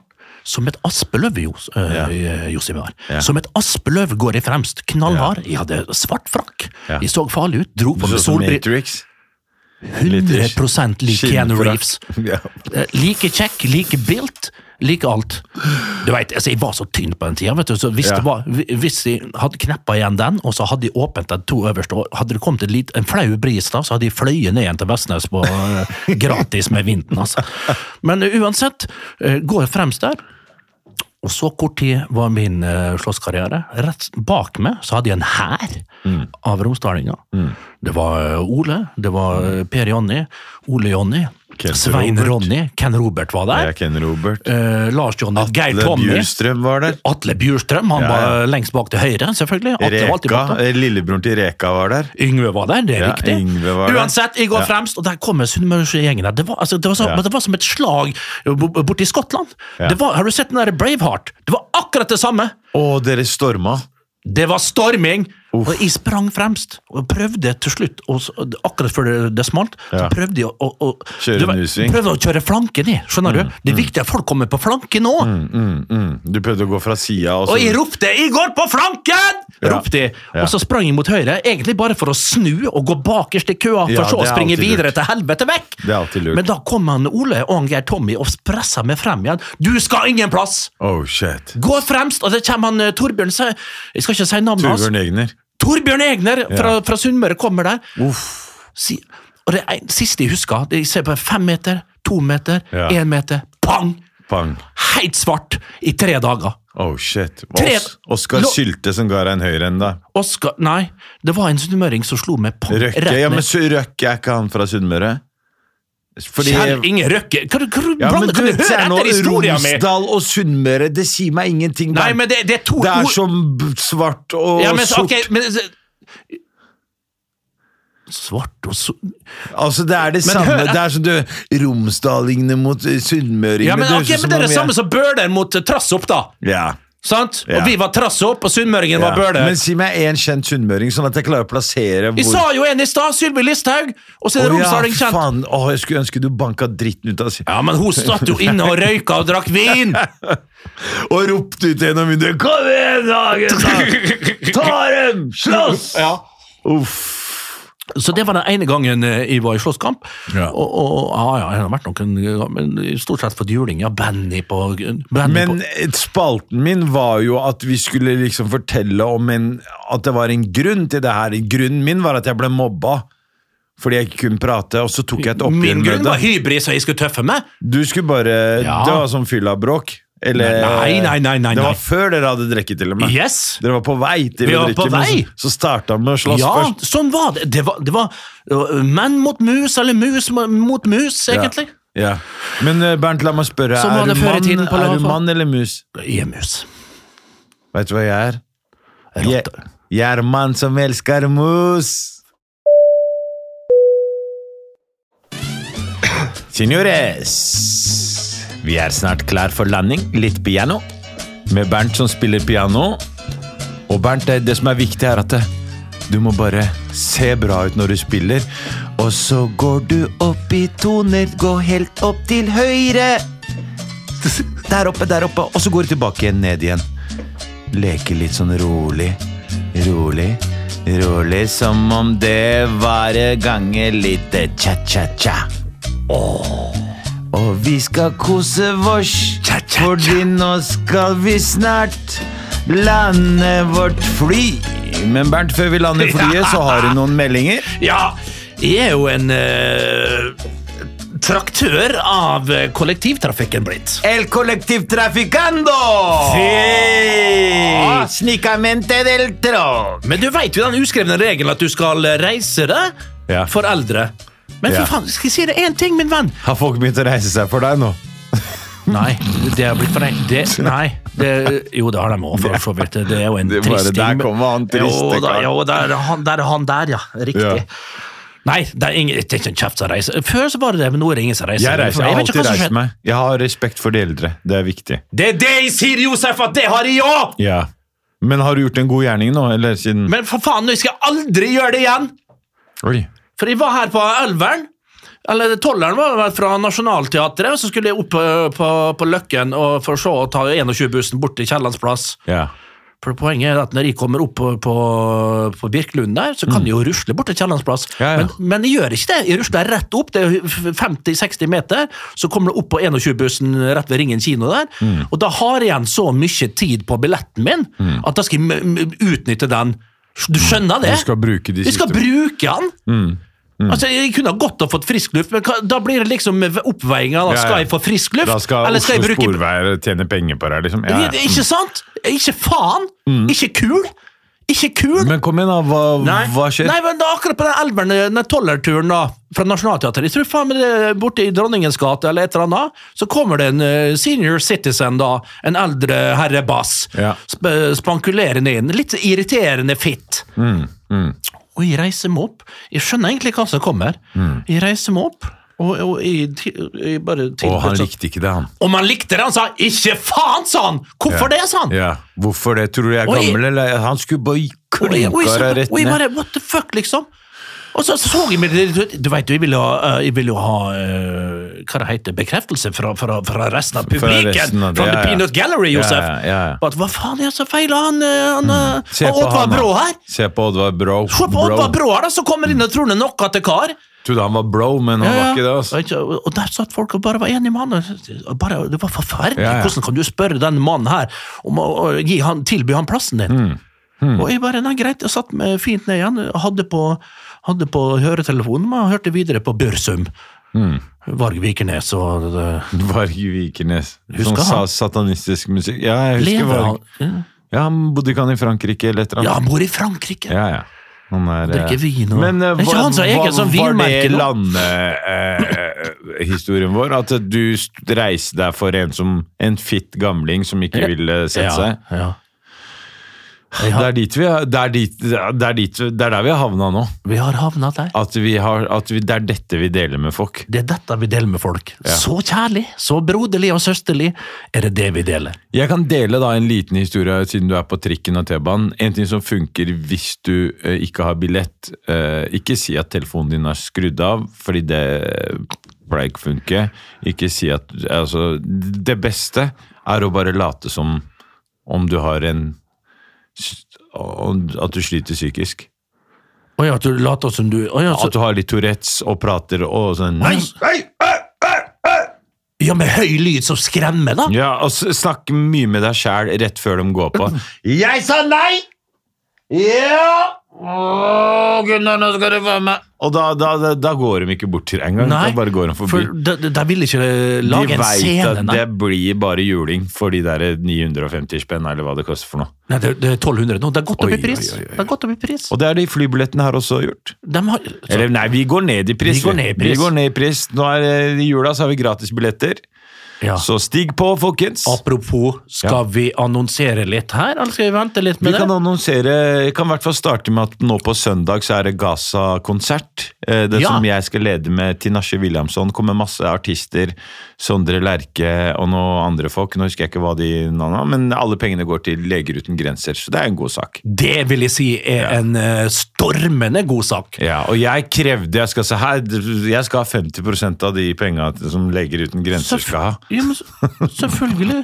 [SPEAKER 2] som et aspeløv, Jos, øh,
[SPEAKER 1] Ja.
[SPEAKER 2] øh, Josimar.
[SPEAKER 1] Ja.
[SPEAKER 2] Som et aspeløv går jeg fremst, knallhard. Jeg hadde svart frakk.
[SPEAKER 1] Ja.
[SPEAKER 2] Jeg så farlig ut, dro
[SPEAKER 1] Du
[SPEAKER 2] på
[SPEAKER 1] så
[SPEAKER 2] meg
[SPEAKER 1] ut som
[SPEAKER 2] solbriller.
[SPEAKER 1] Matrix.
[SPEAKER 2] 100 lik Keanu
[SPEAKER 1] Skinnfrakk.
[SPEAKER 2] Reeves.
[SPEAKER 1] Ja.
[SPEAKER 2] Eh, Like kjekk, like built, like alt. Du vet, altså, Jeg var så tynn på den tida. Vet du, så hvis,
[SPEAKER 1] Ja.
[SPEAKER 2] det var, hvi- hvis jeg hadde kneppa igjen den, og så hadde jeg åpent de to øverste, og hadde det kommet en, lit, en flau bris da, så hadde jeg fløyet ned igjen til Vestnes på eh, gratis med vinden, altså. Men eh, uansett, eh, går jeg fremst der. Og så kort tid var min eh, slåsskarriere. Rett bak meg så hadde jeg en hær
[SPEAKER 1] Mm.
[SPEAKER 2] av romsdalinger. Det var eh, Ole, det var eh, Per Jonny, Ole Jonny,
[SPEAKER 1] Ken
[SPEAKER 2] Svein
[SPEAKER 1] Robert.
[SPEAKER 2] Ronny, Ken Robert var der.
[SPEAKER 1] Jeg kjenner Robert.
[SPEAKER 2] eh, Lars Jonny, Geir
[SPEAKER 1] Atle
[SPEAKER 2] Tommy.
[SPEAKER 1] Bjurstrøm var der.
[SPEAKER 2] Atle Bjurstrøm, han
[SPEAKER 1] Ja, ja.
[SPEAKER 2] var lengst bak til høyre, selvfølgelig. Atle var alltid
[SPEAKER 1] Reka.
[SPEAKER 2] bak da.
[SPEAKER 1] eh, Lillebroren til Reka var der.
[SPEAKER 2] Yngve var der, det er
[SPEAKER 1] Ja,
[SPEAKER 2] riktig.
[SPEAKER 1] Yngve var der.
[SPEAKER 2] Uansett, jeg går
[SPEAKER 1] Ja.
[SPEAKER 2] fremst, og der kommer Sunnmørsgjengen. Det, var- altså, det, var så-
[SPEAKER 1] Ja.
[SPEAKER 2] men det var som et slag bo- borti Skottland.
[SPEAKER 1] Ja.
[SPEAKER 2] Det var, har du sett den der Braveheart? Det var akkurat det samme!
[SPEAKER 1] Og dere storma.
[SPEAKER 2] Det var storming! Og jeg sprang fremst og prøvde til slutt, og så, akkurat før det, det smalt, så
[SPEAKER 1] Ja.
[SPEAKER 2] prøvde jeg å, å, å
[SPEAKER 1] Kjøre
[SPEAKER 2] du vet,
[SPEAKER 1] en U-sving.
[SPEAKER 2] Prøvde å kjøre flanken i, skjønner du? Det er viktig at folk kommer på flanken nå!
[SPEAKER 1] Mm, mm. Du prøvde å gå fra sida, og så
[SPEAKER 2] Og jeg ropte 'Jeg går på flanken!'
[SPEAKER 1] Ja.
[SPEAKER 2] ropte jeg.
[SPEAKER 1] Ja.
[SPEAKER 2] Og så sprang jeg mot høyre, egentlig bare for å snu og gå bakerst i køa, for
[SPEAKER 1] Ja,
[SPEAKER 2] så å
[SPEAKER 1] det er
[SPEAKER 2] springe
[SPEAKER 1] alltid
[SPEAKER 2] videre
[SPEAKER 1] lurt.
[SPEAKER 2] til helvete vekk.
[SPEAKER 1] Det er alltid lurt.
[SPEAKER 2] Men da kom han Ole og han Geir Tommy og pressa meg frem igjen. 'Du skal ingen plass!'
[SPEAKER 1] Oh shit.
[SPEAKER 2] Gå fremst! Og så kommer han eh, Torbjørn se- Jeg skal ikke si navnet hans.
[SPEAKER 1] Torbjørn Egner.
[SPEAKER 2] Torbjørn Egner fra,
[SPEAKER 1] Ja.
[SPEAKER 2] fra Sunnmøre kommer der. Si, og det er en- siste jeg husker, det jeg ser på fem meter, to meter,
[SPEAKER 1] Ja.
[SPEAKER 2] én meter. Pang!
[SPEAKER 1] Pang.
[SPEAKER 2] Helt svart i tre dager.
[SPEAKER 1] Oh shit.
[SPEAKER 2] Tre-
[SPEAKER 1] Os Oskar
[SPEAKER 2] Lo-
[SPEAKER 1] Sylte som ga deg en høyre enn da.
[SPEAKER 2] Oskar Nei, det var en sunnmøring som slo meg pang,
[SPEAKER 1] Røkke.
[SPEAKER 2] rett
[SPEAKER 1] Ja, men
[SPEAKER 2] ned.
[SPEAKER 1] så Røkke er ikke han fra Sunnmøre? Fordi
[SPEAKER 2] Kjell Inge Røkke Hva hva- hva-
[SPEAKER 1] ja, men
[SPEAKER 2] blander-
[SPEAKER 1] du
[SPEAKER 2] Kan du
[SPEAKER 1] vet,
[SPEAKER 2] høre
[SPEAKER 1] se nå,
[SPEAKER 2] etter historien min?
[SPEAKER 1] Romsdal og Sunnmøre, det sier meg ingenting.
[SPEAKER 2] Nei,
[SPEAKER 1] Bernt.
[SPEAKER 2] men det, det er to
[SPEAKER 1] det er
[SPEAKER 2] ord
[SPEAKER 1] som b- svart og
[SPEAKER 2] ja, men,
[SPEAKER 1] sort.
[SPEAKER 2] ok, men, Svart og sort
[SPEAKER 1] Altså, det er det
[SPEAKER 2] Men
[SPEAKER 1] samme.
[SPEAKER 2] hør-
[SPEAKER 1] Det er som du Romsdalingene mot eh, sunnmøringene.
[SPEAKER 2] Ja, men,
[SPEAKER 1] høres ut
[SPEAKER 2] ok, men
[SPEAKER 1] som
[SPEAKER 2] det er
[SPEAKER 1] om
[SPEAKER 2] det
[SPEAKER 1] jeg-
[SPEAKER 2] samme som Bøhler mot eh, Trassopp, da.
[SPEAKER 1] Ja.
[SPEAKER 2] Sant?
[SPEAKER 1] Ja.
[SPEAKER 2] Og vi var Trassopp, og sunnmøringen
[SPEAKER 1] ja.
[SPEAKER 2] var Bøhler.
[SPEAKER 1] Men si meg én kjent sunnmøring, sånn at jeg klarer å plassere
[SPEAKER 2] Vi sa jo en i stad, Sylvi Listhaug! Og så er det
[SPEAKER 1] Å,
[SPEAKER 2] Romsdaling
[SPEAKER 1] ja,
[SPEAKER 2] kjent.
[SPEAKER 1] faen. Å, jeg skulle ønske du banka dritten ut av si-
[SPEAKER 2] Ja, men hun satt jo inne og røyka og drakk vin!
[SPEAKER 1] Og ropte ut gjennom vinduet 'Kom igjen, Hagen! da! Ta dem! Slåss!' Uff.
[SPEAKER 2] Så det var den ene gangen eh, jeg var i slåsskamp.
[SPEAKER 1] Ja.
[SPEAKER 2] Og, og ja, ja, jeg har vært noen ganger, men stort sett fått juling. Ja, Benny på, Benny
[SPEAKER 1] Men
[SPEAKER 2] på
[SPEAKER 1] et- spalten min var jo at vi skulle liksom fortelle om en, at det var en grunn til det her. Grunnen min var at jeg ble mobba. Fordi jeg ikke kunne prate, og så tok jeg et oppgjør
[SPEAKER 2] Min grunn
[SPEAKER 1] med
[SPEAKER 2] var
[SPEAKER 1] det.
[SPEAKER 2] hybris, og jeg skulle tøffe meg.
[SPEAKER 1] Du skulle bare
[SPEAKER 2] Ja.
[SPEAKER 1] Det var sånn fyllabråk. Eller
[SPEAKER 2] Nei, nei, nei, nei,
[SPEAKER 1] Det
[SPEAKER 2] nei.
[SPEAKER 1] var før dere hadde drukket, til og med.
[SPEAKER 2] Yes!
[SPEAKER 1] Dere var på vei til
[SPEAKER 2] Vi
[SPEAKER 1] å
[SPEAKER 2] var
[SPEAKER 1] drikke,
[SPEAKER 2] på
[SPEAKER 1] men
[SPEAKER 2] vei.
[SPEAKER 1] så, så starta han med å slåss
[SPEAKER 2] Ja,
[SPEAKER 1] først.
[SPEAKER 2] sånn var det. Det var, det var øh, menn mot mus, eller mus mo- mot mus, egentlig.
[SPEAKER 1] Ja. Men eh, Bernt, la meg spørre.
[SPEAKER 2] Sånn var
[SPEAKER 1] Er du,
[SPEAKER 2] det før i
[SPEAKER 1] mann,
[SPEAKER 2] tiden på
[SPEAKER 1] er du
[SPEAKER 2] Lava.
[SPEAKER 1] mann eller mus?
[SPEAKER 2] Jeg er mus.
[SPEAKER 1] Vet du hva jeg er? Jeg,
[SPEAKER 2] Rotte.
[SPEAKER 1] jeg er mann som elsker mus. Signores, vi er snart klar for landing. Litt piano. Med Bernt som spiller piano. Og Bernt, det, det som er viktig, er at det, Du må bare se bra ut når du spiller. Og så går du opp i toner, gå helt opp til høyre. Der oppe, der oppe. Og så går du tilbake igjen, ned igjen. Leke litt sånn rolig, rolig, rolig. Som om det var en gange lite cha-cha-cha. Og vi skal kose vårs, fordi nå skal vi snart lande vårt fly. Men Bernt, før vi lander flyet, så har du noen meldinger.
[SPEAKER 2] Ja, jeg er jo en eh, traktør av eh, kollektivtrafikken blitt.
[SPEAKER 1] El kollektivtraficando!
[SPEAKER 2] Sí.
[SPEAKER 1] Snicamente del tråd.
[SPEAKER 2] Men du veit jo den uskrevne regelen at du skal eh, reise deg
[SPEAKER 1] Ja.
[SPEAKER 2] for eldre. Men
[SPEAKER 1] Ja.
[SPEAKER 2] for faen, skal jeg si deg én ting, min venn?
[SPEAKER 1] Har folk begynt å reise seg for deg nå?
[SPEAKER 2] Nei, det har blitt for en- det, Nei. Det, jo, det har de òg, for så vidt. Det er jo en
[SPEAKER 1] Det er bare-
[SPEAKER 2] trist ting.
[SPEAKER 1] der kommer han triste
[SPEAKER 2] Jo, da,
[SPEAKER 1] karen.
[SPEAKER 2] jo, der, er han, der er han der, ja. Riktig.
[SPEAKER 1] Ja.
[SPEAKER 2] Nei, det er, ingen, det er ikke en kjeft som reiser. Før så var det det, men nå er det ingen som reiser.
[SPEAKER 1] Jeg reiser,
[SPEAKER 2] For
[SPEAKER 1] jeg har
[SPEAKER 2] vet ikke hva
[SPEAKER 1] alltid
[SPEAKER 2] som
[SPEAKER 1] reist
[SPEAKER 2] skjer.
[SPEAKER 1] meg. Jeg har respekt for de eldre. Det er viktig.
[SPEAKER 2] Det er det jeg sier, Josef, at det har jeg òg!
[SPEAKER 1] Ja. Men har du gjort en god gjerning nå, eller siden
[SPEAKER 2] Men for faen, nå skal jeg aldri gjøre det igjen!
[SPEAKER 1] Oi.
[SPEAKER 2] For jeg var her på Elveren. Eller Tolleren var vel fra Nationaltheatret, og så skulle jeg opp på, på, på Løkken og for så å ta 21-bussen bort til Kiellands plass.
[SPEAKER 1] Ja.
[SPEAKER 2] For poenget er at når jeg kommer opp på, på, på Birkelund der, så kan jeg jo rusle bort til Kiellands plass.
[SPEAKER 1] Mm. Ja, ja.
[SPEAKER 2] Men, men jeg gjør ikke det. Jeg rusler rett opp, det er 50-60 meter, så kommer det opp på 21-bussen rett ved Ringen kino der.
[SPEAKER 1] Mm.
[SPEAKER 2] Og da har jeg igjen så mye tid på billetten min at da skal jeg m- m- utnytte den. Du skjønner det?
[SPEAKER 1] Du skal bruke de
[SPEAKER 2] Vi skal
[SPEAKER 1] siste Mm.
[SPEAKER 2] bruke han! Altså, Jeg kunne ha godt ha fått frisk luft, men hva, da blir det liksom oppveiinga.
[SPEAKER 1] Ja, ja.
[SPEAKER 2] Skal jeg få frisk luft,
[SPEAKER 1] Da skal
[SPEAKER 2] eller skal
[SPEAKER 1] Oslo
[SPEAKER 2] jeg bruke
[SPEAKER 1] Sporveier tjene penger på deg, liksom. Ja,
[SPEAKER 2] Det-
[SPEAKER 1] ja.
[SPEAKER 2] Ikke sant? Ikke faen! Ikke kul! Ikke kul!
[SPEAKER 1] Men kom igjen, da. Hva, hva skjer?
[SPEAKER 2] Nei, men da akkurat på den elverne, den tollerturen da, fra Nationaltheatret, jeg tror faen meg det er borte i Dronningens gate eller et eller annet, så kommer det en eh, senior citizen da, en eldre herre bass,
[SPEAKER 1] Ja.
[SPEAKER 2] sp spankulerende inn, litt irriterende fitt.
[SPEAKER 1] Mm,
[SPEAKER 2] Og jeg reiser meg opp, jeg skjønner egentlig hva som kommer, jeg reiser meg opp, og, og jeg, ti- jeg bare
[SPEAKER 1] Å, Mm. han
[SPEAKER 2] tilbudt sånn-
[SPEAKER 1] likte ikke det, han.
[SPEAKER 2] Om han likte det, han sa, ikke faen, sa han! Hvorfor det, sa han?
[SPEAKER 1] Ja. Hvorfor det? Tror du jeg er
[SPEAKER 2] Og jeg-
[SPEAKER 1] gammel, eller? Han skulle bare
[SPEAKER 2] Og jeg, og jeg,
[SPEAKER 1] klinka deg
[SPEAKER 2] så-
[SPEAKER 1] rett
[SPEAKER 2] og jeg
[SPEAKER 1] ned.
[SPEAKER 2] bare, what the fuck, liksom? Og så så jeg meg litt- Du vet jo, jeg ville ha, eh, jeg ville jo ha eh, hva det heter, bekreftelse fra, fra, fra resten av publikken! Fra,
[SPEAKER 1] resten av det, ja,
[SPEAKER 2] The
[SPEAKER 1] ja.
[SPEAKER 2] Peanut Gallery,
[SPEAKER 1] Ja,
[SPEAKER 2] Josef!
[SPEAKER 1] ja, ja, ja.
[SPEAKER 2] På At, hva faen er det som feiler han, eh, han, eh,
[SPEAKER 1] Se
[SPEAKER 2] han
[SPEAKER 1] på
[SPEAKER 2] Oddvar
[SPEAKER 1] han, da.
[SPEAKER 2] Brå her?
[SPEAKER 1] Se på Oddvar Bro.
[SPEAKER 2] Se på Oddvar
[SPEAKER 1] Bro.
[SPEAKER 2] Brå her, da, som kommer inn og tror han er noe til kar!
[SPEAKER 1] Trodde han var bro, men han
[SPEAKER 2] Ja,
[SPEAKER 1] var
[SPEAKER 2] ja.
[SPEAKER 1] ikke det. altså.
[SPEAKER 2] Og ikke- Og og der satt folk og bare var enige med han. og Bare, det var forferdelig.
[SPEAKER 1] Ja, ja.
[SPEAKER 2] Hvordan kan du spørre den mannen her om å, å gi han, tilby han plassen din?
[SPEAKER 1] Mm.
[SPEAKER 2] Og jeg bare, nei greit, jeg satt meg fint ned igjen, hadde på, hadde på høretelefonen, men hørte videre på Børsum.
[SPEAKER 1] Mm.
[SPEAKER 2] Varg Vikernes og eh, det-
[SPEAKER 1] Varg Vikernes. Som
[SPEAKER 2] Husker
[SPEAKER 1] Sånn sa
[SPEAKER 2] han?
[SPEAKER 1] satanistisk musikk. Ja, jeg husker
[SPEAKER 2] Lever
[SPEAKER 1] Varg.
[SPEAKER 2] han? Ja.
[SPEAKER 1] Ja, han bodde ikke han i Frankrike eller et eller
[SPEAKER 2] Ja,
[SPEAKER 1] annet?
[SPEAKER 2] han bor i Frankrike!
[SPEAKER 1] Ja, ja. Han er, eh,
[SPEAKER 2] Drikker vin og-
[SPEAKER 1] Men eh,
[SPEAKER 2] Er ikke
[SPEAKER 1] hva-
[SPEAKER 2] han som
[SPEAKER 1] hva-
[SPEAKER 2] eier sånn
[SPEAKER 1] Var det
[SPEAKER 2] vinmerke nå?
[SPEAKER 1] landehistorien vår? At du st- reiste deg for en, som, en fitt gamling som ikke ville sette seg?
[SPEAKER 2] Ja, ja.
[SPEAKER 1] Det er, dit vi, er- det, er dit, det, er dit, det er der vi har havna nå.
[SPEAKER 2] Vi har havnet der.
[SPEAKER 1] At, vi har, at vi, det er dette vi deler med folk.
[SPEAKER 2] Det er dette vi deler med folk. Så kjærlig, så broderlig og søsterlig er det det vi deler.
[SPEAKER 1] Jeg kan dele da en liten historie siden du er på trikken og T-banen. En ting som funker hvis du eh, ikke har billett. eh, ikke si at telefonen din er skrudd av, fordi det pleier ikke å funke. Ikke si at altså, Det beste er å bare late som om du har en om- At du sliter psykisk.
[SPEAKER 2] Å ja, at du later som du Å ja, så,
[SPEAKER 1] At du har litt Tourettes og prater og sånn
[SPEAKER 2] Nei, ja, med høy lyd som skremmer, da.
[SPEAKER 1] Ja, og s- snakk mye med deg sjæl rett før de går på.
[SPEAKER 2] Jeg sa nei! Ja! Å, Gunnar, nå skal du være med.
[SPEAKER 1] Og da, da, da, da går de ikke bort til deg engang.
[SPEAKER 2] Nei,
[SPEAKER 1] Da bare går de forbi.
[SPEAKER 2] For da, da da vil ikke det
[SPEAKER 1] De
[SPEAKER 2] lage en
[SPEAKER 1] veit
[SPEAKER 2] scene.
[SPEAKER 1] at
[SPEAKER 2] Nei,
[SPEAKER 1] det blir bare juling for de der 950 spenn, eller hva det koster for noe.
[SPEAKER 2] nei det, det er 1200 nå. Det er godt
[SPEAKER 1] Oi,
[SPEAKER 2] opp i pris.
[SPEAKER 1] oi, oi, oi.
[SPEAKER 2] Det er godt opp i pris.
[SPEAKER 1] Og det har de flybillettene her også gjort.
[SPEAKER 2] De har, så,
[SPEAKER 1] Eller nei, vi går ned i pris.
[SPEAKER 2] Vi går ned i pris.
[SPEAKER 1] eh, Vi går ned i pris. Nå er det i jula, så har vi gratisbilletter.
[SPEAKER 2] Ja.
[SPEAKER 1] Så stig på, folkens.
[SPEAKER 2] Apropos, skal vi annonsere litt her, eller skal vi vente litt
[SPEAKER 1] Vi
[SPEAKER 2] med
[SPEAKER 1] kan
[SPEAKER 2] det?
[SPEAKER 1] annonsere, kan i hvert fall starte med at nå på søndag så er det Gaza-konsert. Eh, Det
[SPEAKER 2] Ja.
[SPEAKER 1] som jeg skal lede med Tinashe Williamson. Kommer masse artister. Sondre Lerche og noen andre folk. Nå husker jeg ikke hva de navnene var, men alle pengene går til Leger uten grenser, så det er en god sak.
[SPEAKER 2] Det vil jeg si er en eh, stormende god sak.
[SPEAKER 1] Ja, og jeg krevde jeg skal, se her, jeg skal ha 50 av de penga som Leger uten grenser
[SPEAKER 2] Selvfø-
[SPEAKER 1] skal ha.
[SPEAKER 2] Ja, men s- selvfølgelig.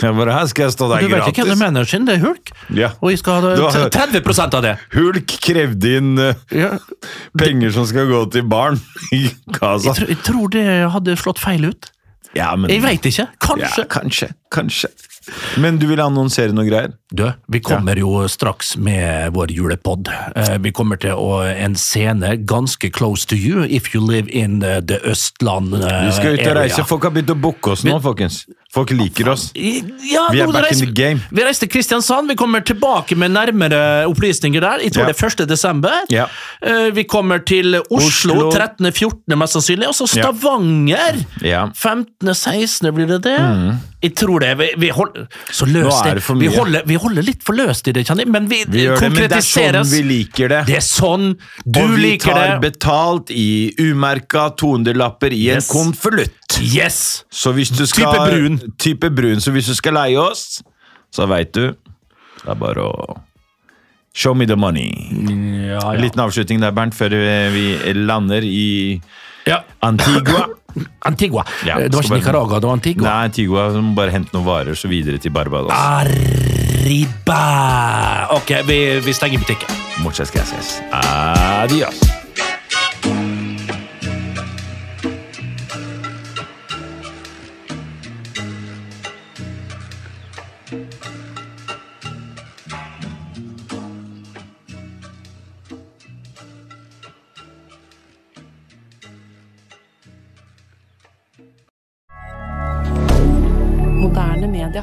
[SPEAKER 1] Jeg bare, her skal jeg stå der
[SPEAKER 2] Du vet ikke hvem
[SPEAKER 1] gratis.
[SPEAKER 2] er manageren, det er Hulk.
[SPEAKER 1] Ja.
[SPEAKER 2] Og jeg skal ha
[SPEAKER 1] Du
[SPEAKER 2] det-
[SPEAKER 1] har-
[SPEAKER 2] 30 av det!
[SPEAKER 1] Hulk krevde inn eh,
[SPEAKER 2] Ja.
[SPEAKER 1] penger som skal gå til barn i Gaza.
[SPEAKER 2] Jeg, tror, jeg tror det hadde slått feil ut.
[SPEAKER 1] Ja, men,
[SPEAKER 2] Jeg veit ikke. Kanskje.
[SPEAKER 1] Ja, kanskje, kanskje. Men du ville annonsere noe greier?
[SPEAKER 2] Du, vi kommer jo straks med vår julepod. Eh, Vi kommer til å, en scene ganske close to you if you live in eh, the Østland eh,
[SPEAKER 1] Vi skal ut og
[SPEAKER 2] area.
[SPEAKER 1] reise. Folk har begynt å booke oss nå, folkens. Folk liker oss.
[SPEAKER 2] I- Ja,
[SPEAKER 1] Vi er
[SPEAKER 2] nå
[SPEAKER 1] back in
[SPEAKER 2] reiser-
[SPEAKER 1] the game.
[SPEAKER 2] Vi reiser til Kristiansand. Vi kommer tilbake med nærmere opplysninger der. Jeg tror
[SPEAKER 1] Ja.
[SPEAKER 2] det er 1. desember.
[SPEAKER 1] Ja.
[SPEAKER 2] Eh, Vi kommer til Oslo,
[SPEAKER 1] Oslo.
[SPEAKER 2] 13.-14. mest sannsynlig. Og så
[SPEAKER 1] Ja.
[SPEAKER 2] Stavanger!
[SPEAKER 1] Ja. Mm.
[SPEAKER 2] 15.-16. blir det det. Jeg tror det. Vi, vi holder Så løst
[SPEAKER 1] Nå er
[SPEAKER 2] det.
[SPEAKER 1] det for
[SPEAKER 2] Vi
[SPEAKER 1] mye.
[SPEAKER 2] holder, vi holder litt for løst i det, kjenner jeg, men vi,
[SPEAKER 1] Vi gjør det, men det er sånn
[SPEAKER 2] konkretiseres.
[SPEAKER 1] vi liker det.
[SPEAKER 2] Det er sånn du
[SPEAKER 1] og vi
[SPEAKER 2] liker
[SPEAKER 1] tar
[SPEAKER 2] det.
[SPEAKER 1] betalt i umerka 200-lapper i en
[SPEAKER 2] Yes.
[SPEAKER 1] konvolutt.
[SPEAKER 2] Yes!
[SPEAKER 1] Så hvis du skal
[SPEAKER 2] Type brun.
[SPEAKER 1] Type brun, Så hvis du skal leie oss, så veit du. Det er bare å Show me the money.
[SPEAKER 2] Ja,
[SPEAKER 1] En liten avslutning der, Bernt, før vi lander i
[SPEAKER 2] ja.
[SPEAKER 1] Antigua.
[SPEAKER 2] Antigua.
[SPEAKER 1] Ja,
[SPEAKER 2] Eh, det var
[SPEAKER 1] skal
[SPEAKER 2] ikke
[SPEAKER 1] bare-
[SPEAKER 2] Nicaragua, det var Antigua.
[SPEAKER 1] Nei, Antigua så må bare hente noen varer, så videre til Barbados.
[SPEAKER 2] Ah. Arriba! Ok, vi, vi stenger butikken.
[SPEAKER 1] Muchas gracias. Adios.
[SPEAKER 4] Moderne media.